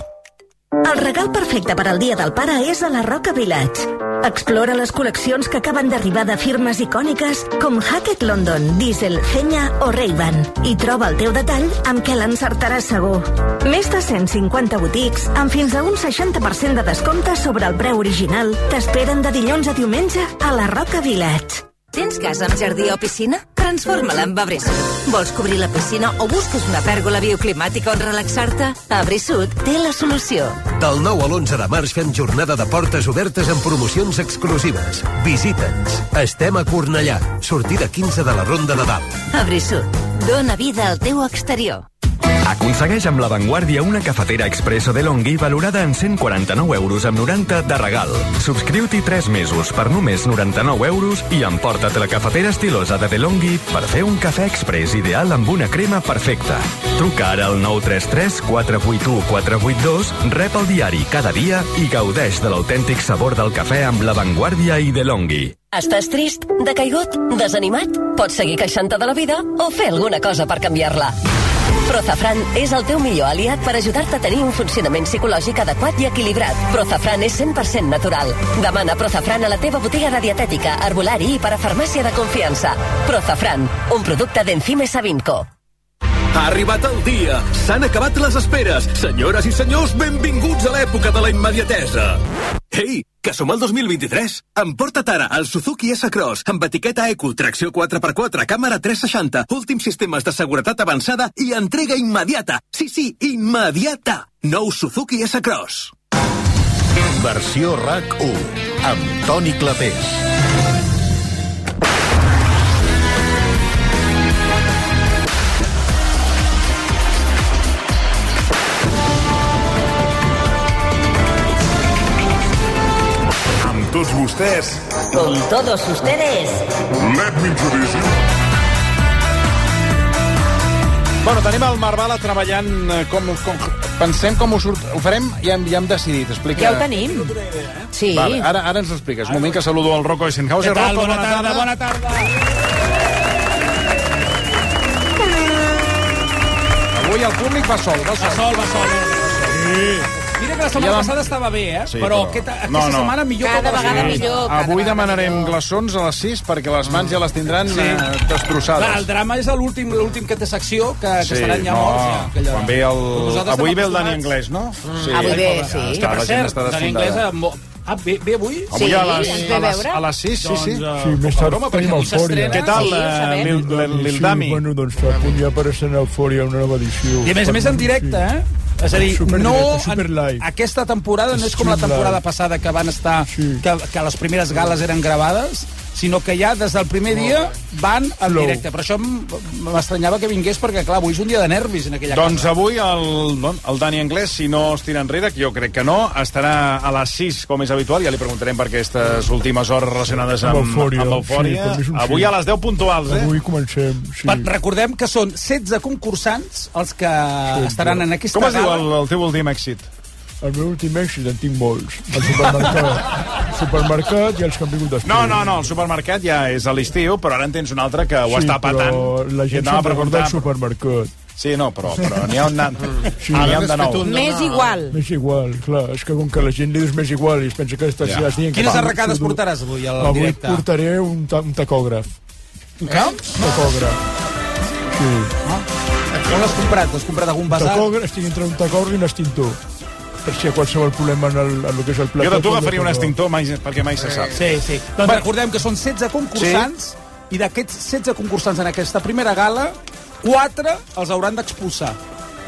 El regal perfecte per al Dia del Pare és a la Roca Village. Explora les col·leccions que acaben d'arribar de firmes icòniques com Hackett London, Diesel, Fenya o Ray-Ban i troba el teu detall amb què l'encertaràs segur. Més de 150 botics amb fins a un 60% de descompte sobre el preu original t'esperen de dilluns a diumenge a la Roca Village. Tens casa amb jardí o piscina? Transforma-la en Abresud. Vols cobrir la piscina o busques una pèrgola bioclimàtica on relaxar-te? Abresud té la solució. Del 9 a l'11 de març fem jornada de portes obertes amb promocions exclusives. Visita'ns. Estem a Cornellà. Sortida 15 de la Ronda de Dalt. Abresud, dona vida al teu exterior. Aconsegueix amb La Vanguardia una cafetera expresso de Longhi valorada en 149 euros amb 90 de regal. Subscriu-t'hi 3 mesos per només 99 euros i emporta't la cafetera estilosa de DeLonghi per fer un cafè express ideal amb una crema perfecta. Truca ara al 933 481 482, rep el diari cada dia i gaudeix de l'autèntic sabor del cafè amb La Vanguardia i DeLonghi. Estàs trist, decaigut, desanimat? Pots seguir queixant-te de la vida o fer alguna cosa per canviar-la. Prozafran és el teu millor aliat per ajudar-te a tenir un funcionament psicològic adequat i equilibrat. Prozafran és 100% natural. Demana Prozafran a la teva botiga de dietètica, herbolari i per a farmàcia de confiança. Prozafran, un producte d'Enzime Savinco. Ha arribat el dia. S'han acabat les esperes. Senyores i senyors, benvinguts a l'època de la immediatesa. Ei, que som al 2023. Emporta't ara el Suzuki S-Cross amb etiqueta Eco, tracció 4x4, càmera 360, últims sistemes de seguretat avançada i entrega immediata. Sí, sí, immediata. Nou Suzuki S-Cross. Versió RAC1, amb Toni Clapés. Amb tots vostès, Con todos ustedes. let me introduce you. Bueno, tenim el Marvala treballant eh, com, com... Pensem com ho, surt, ho farem i ja hem, ja hem decidit. Explica... Ja ho tenim. Sí. Vale, ara, ara ens ho expliques. Un moment que saludo el Rocco Eisenhauser. Què tal? Rocco, Bona tarda, bona Avui el públic va sol, va sol. Va sol, va sol. Sí. Mira que la setmana Ja vam- passada estava bé, eh? Sí, però, però- aquesta, aquesta No, no. setmana millor Cada que la vegada setmana millor, passada. Avui demanarem glaçons a les 6 perquè les mans ja les tindran Sí. eh, destrossades. Clar, el drama és l'últim l'últim que té secció, que, que seran ja no, molts. Ja, que allò- quan ve Però el... nosaltres Avui estem ve el Dani acostumats. Mm. Anglès, no? Avui ve, sí. Està, Que, per la gent cert, està Dani desfondada. Anglès amb- Ah, ve, ve avui? Avui a les, a les, a les 6, sí, sí. Doncs, eh, Broma, perquè avui s'estrena. Què tal, eh, Lil, Lil, Lil Dami? Sí, bueno, doncs fa punt ja per estrenar Eufòria, una nova edició. I a més a més en directe, eh? És a dir, no, en, aquesta temporada no és com la Superlive. temporada passada que van estar, que, que les primeres gales eren gravades, sinó que ja des del primer dia van en Flow. directe. Però això m- m'estranyava que vingués perquè, clar, avui és un dia de nervis en aquella Doncs casa. avui el, don- el Dani Anglès, si no es tira enrere, que jo crec que no, estarà a les 6, com és habitual, ja li preguntarem per aquestes últimes hores relacionades amb, amb eufòria. Amb sí, per mi és un avui sí. a les 10 puntuals, eh? Avui comencem, sí. Per, recordem que són 16 concursants els que estaran en aquesta Com es diu gala. el, el teu últim èxit? El meu últim èxit en tinc molts. El supermercat, el supermercat i els que han vingut després. No, no, no, el supermercat ja és a l'estiu, però ara en tens un altre que ho sí, està patant. però la I et gent anava a se'n recorda preguntar- del supermercat. Sí, no, però, però n'hi ha un nan... Mm. Sí, n'hi ha un Ah, de nou. Més igual, clar. És que com que la gent li dius més igual i es pensa que estàs Ja. ja. dient... Quines que- arracades portaràs avui al avui directe? portaré un, ta un tacògraf. Eh? Un camp? Tacògraf. Sí. On l'has comprat? L'has comprat a algun Un basar? tacògraf, estic entre un tacògraf i un extintor. Per si hi ha qualsevol problema en el, en el que és el Jo plató... doncs de tu pot agafaria un resoldre. extintor mai, perquè mai se sap. Sí, sí. Doncs recordem que són 16 concursants i d'aquests 16 concursants en aquesta primera gala, 4 els hauran d'expulsar.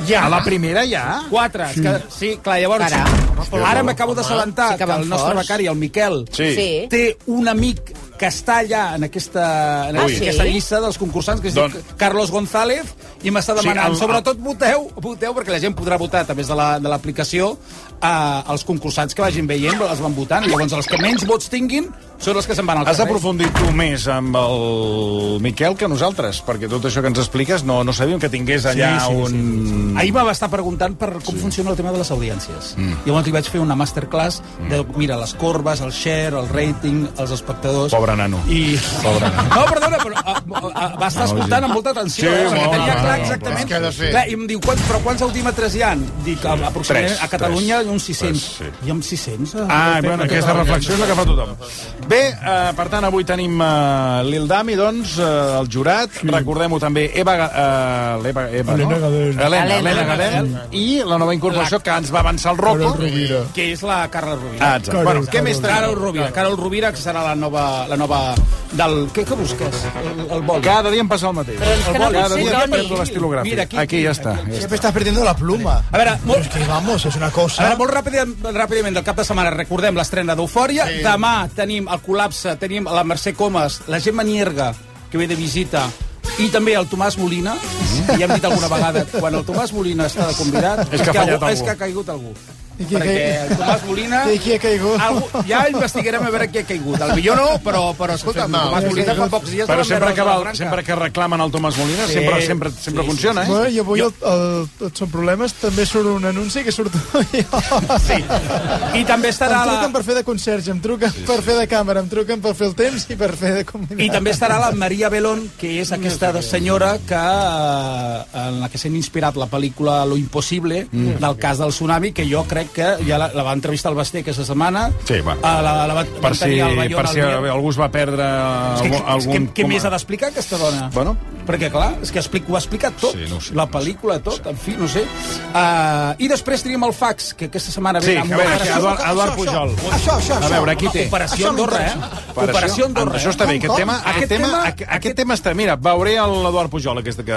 Ja. Ah. A la primera, ja? 4. Sí, Sí. que, sí clar, llavors... Caram. Ara, ara m'acabo d'assabentar Sí sí que que, van el nostre forts. becari, el Miquel, Sí. Sí. té un amic que està allà en aquesta, en Ah, aquesta sí? llista dels concursants, que es Doncs- diu Carlos González, i m'està Sí, demanant, el- sobretot voteu, voteu, perquè la gent podrà votar a través de la- de l'aplicació la, eh, els concursants que vagin veient, els van votant, i llavors els que menys vots tinguin són els que se'n van al Has carrer. aprofundit tu més amb el Miquel que nosaltres, perquè tot això que ens expliques no, no sabíem que tingués allà Sí, sí, un... Mm. Ahir m'ava estar preguntant per com sí. funciona el tema de les audiències. Mm. Llavors li vaig fer una masterclass Mm. de, mira, les corbes, el share, el rating, els espectadors... Pobre nano. I... Pobre nano. No, perdona, però a, a, va estar escoltant amb molta atenció, Sí, eh, perquè molt, tenia clar no, no, exactament... però- Què ha de fer? Clar, I em diu, quants, però quants audímetres hi ha? Dic, a, aproximadament tres, a Catalunya tres, hi ha uns 600. tres, Hi ha uns 600? eh, Ah, fem bueno, a aquesta Catalunya. reflexió és la que fa tothom. Bé, eh, per tant, avui tenim eh, Lil Dami, doncs, eh, el jurat. Recordem-ho també, Eva... Ga- Eh, l'Eva, Eva, Helena no? Gadel. Helena, Helena Helena Gadel. Mm. I la nova incorporació que ens va avançar el Rocco. Carol Rovira. Que és la Carla Rovira. Ah, exacte. Carol, Bueno, què Carol. més tenim? Carol Rovira. Carol Rovira, que serà la nova... La nova del... Què que busques? El, el vol. Cada dia em passa el mateix. Però és que no Cada pot ser, dia Toni. perdo l'estilogràfic. Mira, aquí, Aquí ja està, ja està. Siempre estás perdiendo la pluma. A veure, molt... que vamos, es una cosa... A veure, molt ràpid, ràpidament, del cap de setmana, recordem l'estrena d'Eufòria. Sí. Sí. Demà tenim el col·lapse, tenim la Mercè Comas, la Gemma Nierga, que ve de visita, i també el Tomàs Molina. Mm. Ja hem dit alguna vegada, quan el Tomàs Molina està de convidat... Mm-hmm. És que ha fallat algú- algú. És que ha caigut algú. I qui ha Perquè caigut? el Tomàs Molina... I qui ha caigut? Algú, ja investigarem a veure qui ha caigut. El millor no, però, però escolta, el Tomàs Molina fa pocs dies... Però va sempre perdre que, la val, branca. sempre que reclamen el Tomàs Molina, Sí. sempre, sempre, sempre Sí, sí, funciona, eh? sí. Bueno, i avui jo... el, el, tots són problemes, també surt un anunci que surto jo. Sí. I també estarà Em la- truquen per fer de conserge, em truquen per fer de càmera, em truquen per fer el temps i per fer de combinat. I també estarà la Maria Belón, que és aquesta senyora que, eh, en la que s'ha inspirat la pel·lícula Lo Impossible, Mm. del cas del tsunami, que jo crec crec que ja la, la va entrevistar el Basté aquesta setmana. Sí, va. A la, la, va, Per si, per si algú es va perdre és que, Eh, algun... és que, què com a- més ha d'explicar aquesta dona? Bueno. Perquè, clar, és que explic, ho ha explicat tot. Sí, no sé, la pel·lícula, tot, en fi, no sé. Uh, I després tenim el fax, que aquesta setmana Sí, ve... amb a veure, comparació- Eduard- Eduard Pujol. Això, això, A veure, aquí Home, té. Operació Andorra, eh? Operació Andorra. eh? Això està bé, aquest tema, aquest, tema, aqu- aquest tema està... Mira, veuré l'Eduard Pujol, aquesta que...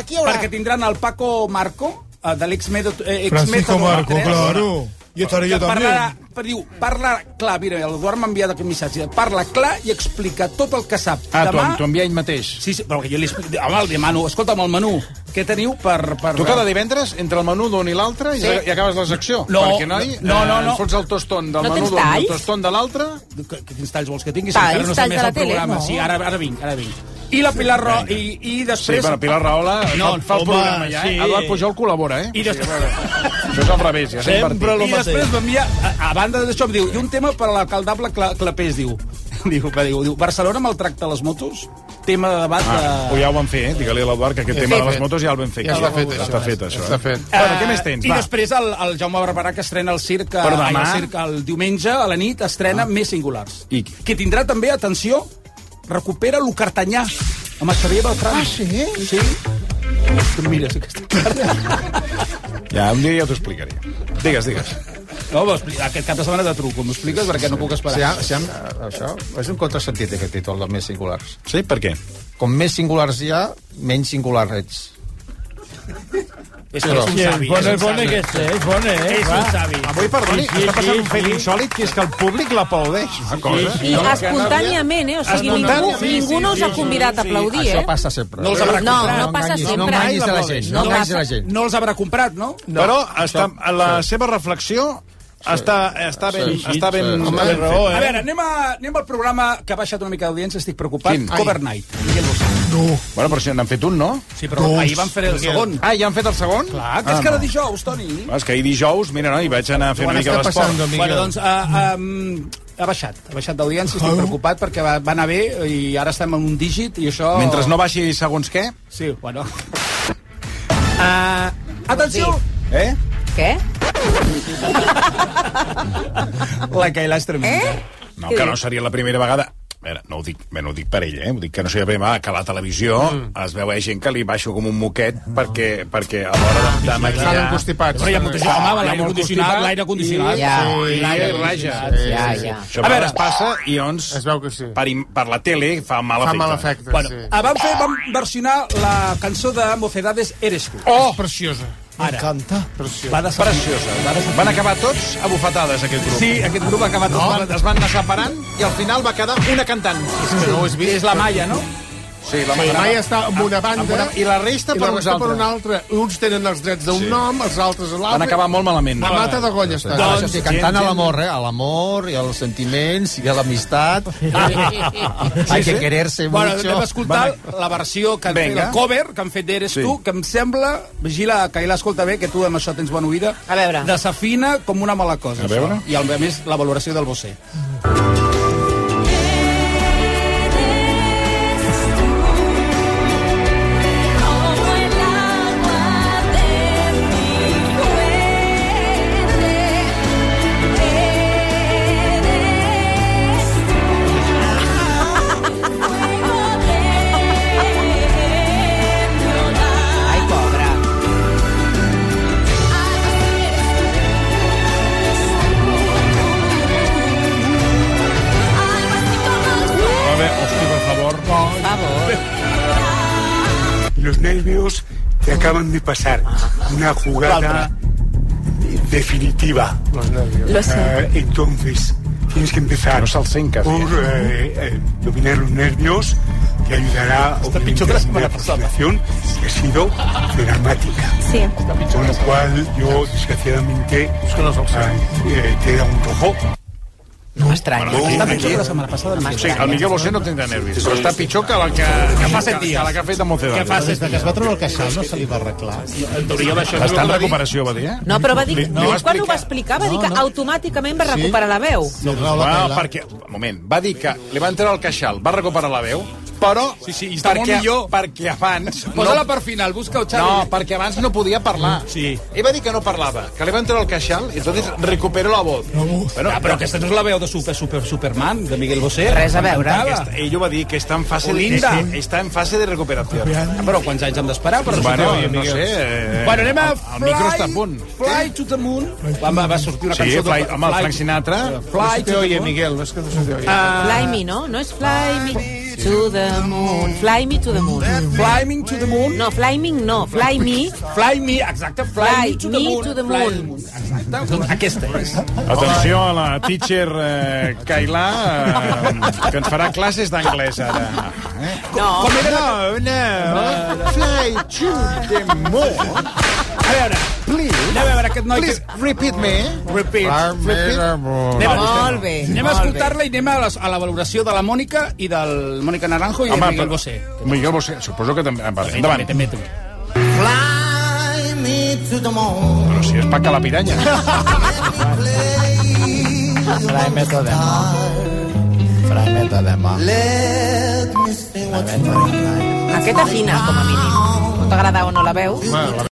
aquí haurà. Perquè tindran el Paco Marco, eh, de l'ex-método... Eh, Francisco exmétodo Marco, Martínez. claro. Yo estaré yo Que también. parlarà- per- diu, parla clar, mira, l'Eduard m'ha enviat aquest missatge. Parla clar i explica tot el que sap. Ah, t'ho- t'ho envia ell mateix. Sí, sí, però que jo li explico... Home, el demano, escolta'm, el menú, què teniu per... per Tu cada divendres, entre el menú d'un i l'altre, Sí. sí. i acabes la secció. No, perquè, noi, no, no, eh, no. fots el toston del No menú tens d'un, el talls? toston de l'altre... Que- que- Quins talls vols que tingui? si Talls, encara no s'ha talls Ah, més de la el tele, programa. no. Sí, ara, ara vinc, ara vinc. I la Pilar Rahola... I, I després... Sí, però Pilar Rahola no, fa el programa ja, eh? Eduard Pujol col·labora, eh? I després... Això és al revés, ja s'ha invertit. I després m'envia, a, a banda d'això, em diu, i un tema per a l'alcaldable Cla Clapés, diu. diu, que diu, diu, Barcelona maltracta les motos? Tema de debat de... Ah, ho ja ho van fer, eh? Digue-li a l'Eduard que aquest Ja tema està de les fet. motos ja el van fer. Ja està fet, Està això. fet, això. Està eh? Bueno, què més tens? I Va. després el, el Jaume Barberà, que estrena el circ, Per demà? Ah. ai, el, circ el diumenge a la nit, estrena Més Singulars. I... Que tindrà també, atenció, recupera lo cartanyà amb el Xavier Beltran. Ah, sí? Sí. Tu mires aquesta Ja, un dia ja t'ho explicaré. Digues, digues. No, m'ho expli- aquest cap de setmana de truco, m'ho expliques perquè no puc esperar. Si ah, ha, si ha, això és un contrasentit, aquest títol, dels més singulars. Sí? Per què? Com més singulars hi ha, menys singular ets. És que és un savi. eh, és Bona, un bona savi. aquesta, eh? Bona, eh? És Va. un savi. Avui, perdoni, Sí, sí, està passant sí, un fet sí. insòlid, que és que el públic l'aplaudeix. Una cosa. I espontàniament, eh? O sigui, ningú, Espontàniament. ningú no us ha convidat a aplaudir, eh? Això passa sempre. No els haurà No, comprat. no passa enganyis, sempre. No enganyis a la gent. No enganyis passa. a la gent. No els haurà comprat, no? No. Però està, a la seva reflexió està, està ben... està ben, Home, ben raó, fet. eh? A veure, anem, a, anem al programa que ha baixat una mica d'audiència, estic preocupat. Quin? Cover Night. Miguel Bosé. No. Bueno, però si n'han fet un, no? Sí, però ahir van fer el segon. Ah, ja han fet el segon? Clar, que és Ah, cada no. dijous, Toni. Ah, És que ahir dijous, mira, no, hi vaig anar a fer una mica d'esport. Bueno, doncs, uh, um, ha baixat, ha baixat d'audiència, estic preocupat perquè va, va anar bé i ara estem en un dígit i això... Mentre no baixi segons què... Sí, bueno. Uh, atenció! Eh? Què? La Cailà és tremenda. Eh? No, que no seria la primera vegada... A veure, no ho dic, bé, no ho dic per ell, eh? Ho dic que no seria la primera vegada que a la televisió mm. es veu a gent que li baixo com un moquet perquè, perquè a l'hora de, de maquillar... Estaven constipats. Però hi ha molta gent, home, l'aire condicionat, l'aire condicionat. Ja, Sí, l'aire sí, raja. sí, ja, ja. Això a veure, es passa i doncs... Es veu que sí. Per, im- per la tele fa mal Fa efecte. mal efecte, Ah, van, fer, van versionar la cançó de Mocedades Eres tu. Oh! Preciosa. Ara. M'encanta. Va de Preciosa. Van acabar tots abufetades, aquest grup. Sí, aquest grup ha acabat... No? Es, No? van, es van anar separant i al final va quedar una cantant. És que no ho has vist. És la Maia, no? Sí, La, Ah, la Maia està amb una banda... Amb una, I la resta i per la uns resta per altres. una altra. Uns tenen els drets d'un Sí. sí. nom, els altres a l'altre. Van acabar molt malament. A mata de golla està. Doncs, sí, cantant a l'amor, eh? A l'amor i als sentiments i a l'amistat. Hay que quererse bueno, mucho. Bueno, vam escoltar la versió que han fet, Venga. el cover que han fet d'Eres Sí. tu, que em sembla, vigila, Cailà, escolta bé, que tu amb això tens bona oïda, A veure. desafina com una mala cosa. A veure. Això. I a més, la valoració del Bosé. Ai, pobra. A ver, hostia, por favor. Por favor. Los nervios te acaban de pasar una jugada definitiva. Los nervios. Eh, Lo sé. entonces, tienes que empezar por eh, eh, dominar los nervios. Te ayudará obviamente, a dominar la situación que ha sido dramática. Sí. Con lo cual, yo desgraciadamente ay, eh, te da un rojo. No m'estranya. Bueno, aquí, Estava aquí. pitjor la setmana passada. O sigui, el Miguel Bosé no tindrà nervis, però està pitjor que la que, que, fa set que- dies. que la que ha fet a Mocedades. Que fa Des de que es va treure el queixal no se li va arreglar. En teoria va això, Està en recuperació, va dir, eh? No, però va dir... Li- li No, va quan ho va explicar- explicar va dir que automàticament va recuperar la veu. Ah, No, perquè, un moment, va dir que li van treure el queixal, va recuperar la veu, Però Sí, sí, i està molt perquè, millor. perquè abans... Posa-la per final, busca-ho, Xavi. No, perquè abans no podia parlar. Sí. Ell va dir que no parlava, que li va entrar el queixal i entonces recupero la voz. No. Ah, Bueno, ja, però aquesta no és la veu de super, super, Superman, de Miguel Bosé. Res a veure. Aquesta, ell ho va dir, que està en fase, Olinda. de, està en fase de recuperació. Ah, Però quants anys hem d'esperar per Bueno, recuperar-la, no Miguel? sé, eh, Bueno, anem a el- el micro està a punt. Fly to the Moon. Va, va, va sortir una Sí, cançó... Fly- home, el Frank Sinatra. Fly to the Moon. Miguel, no és Doncs, que no se te oye. Ah. Fly me, no? No és fly me to the moon. Fly me to the moon. Fly me to the moon? No, fly me no. Fly me. Fly me, exacte. Fly, me Fly to the me moon. to the Fly moon. to the moon. Exacte. Doncs Aquesta és. Atenció a la teacher eh, Kailà, eh, que ens farà classes d'anglès ara. No. Com era no, no. Fly to the moon. A veure, please. Anem a veure aquest noi... Please, repeat me. Repeat. Fly me repeat. the moon. Anem a- Molt bé, Anem a molt escoltar-la i anem a la, a la valoració de la Mònica i del Mònica Naranjo i de Home, Miguel però- Bosé. Miguel Bosé, suposo que també... Ah, Vale, endavant. També, Fly me to the moon. Però si és Paca la piranya. Fly me to the moon. Fly me to the moon. Aquesta fina, com a mínim. No t'agrada o no la veus? Bueno, la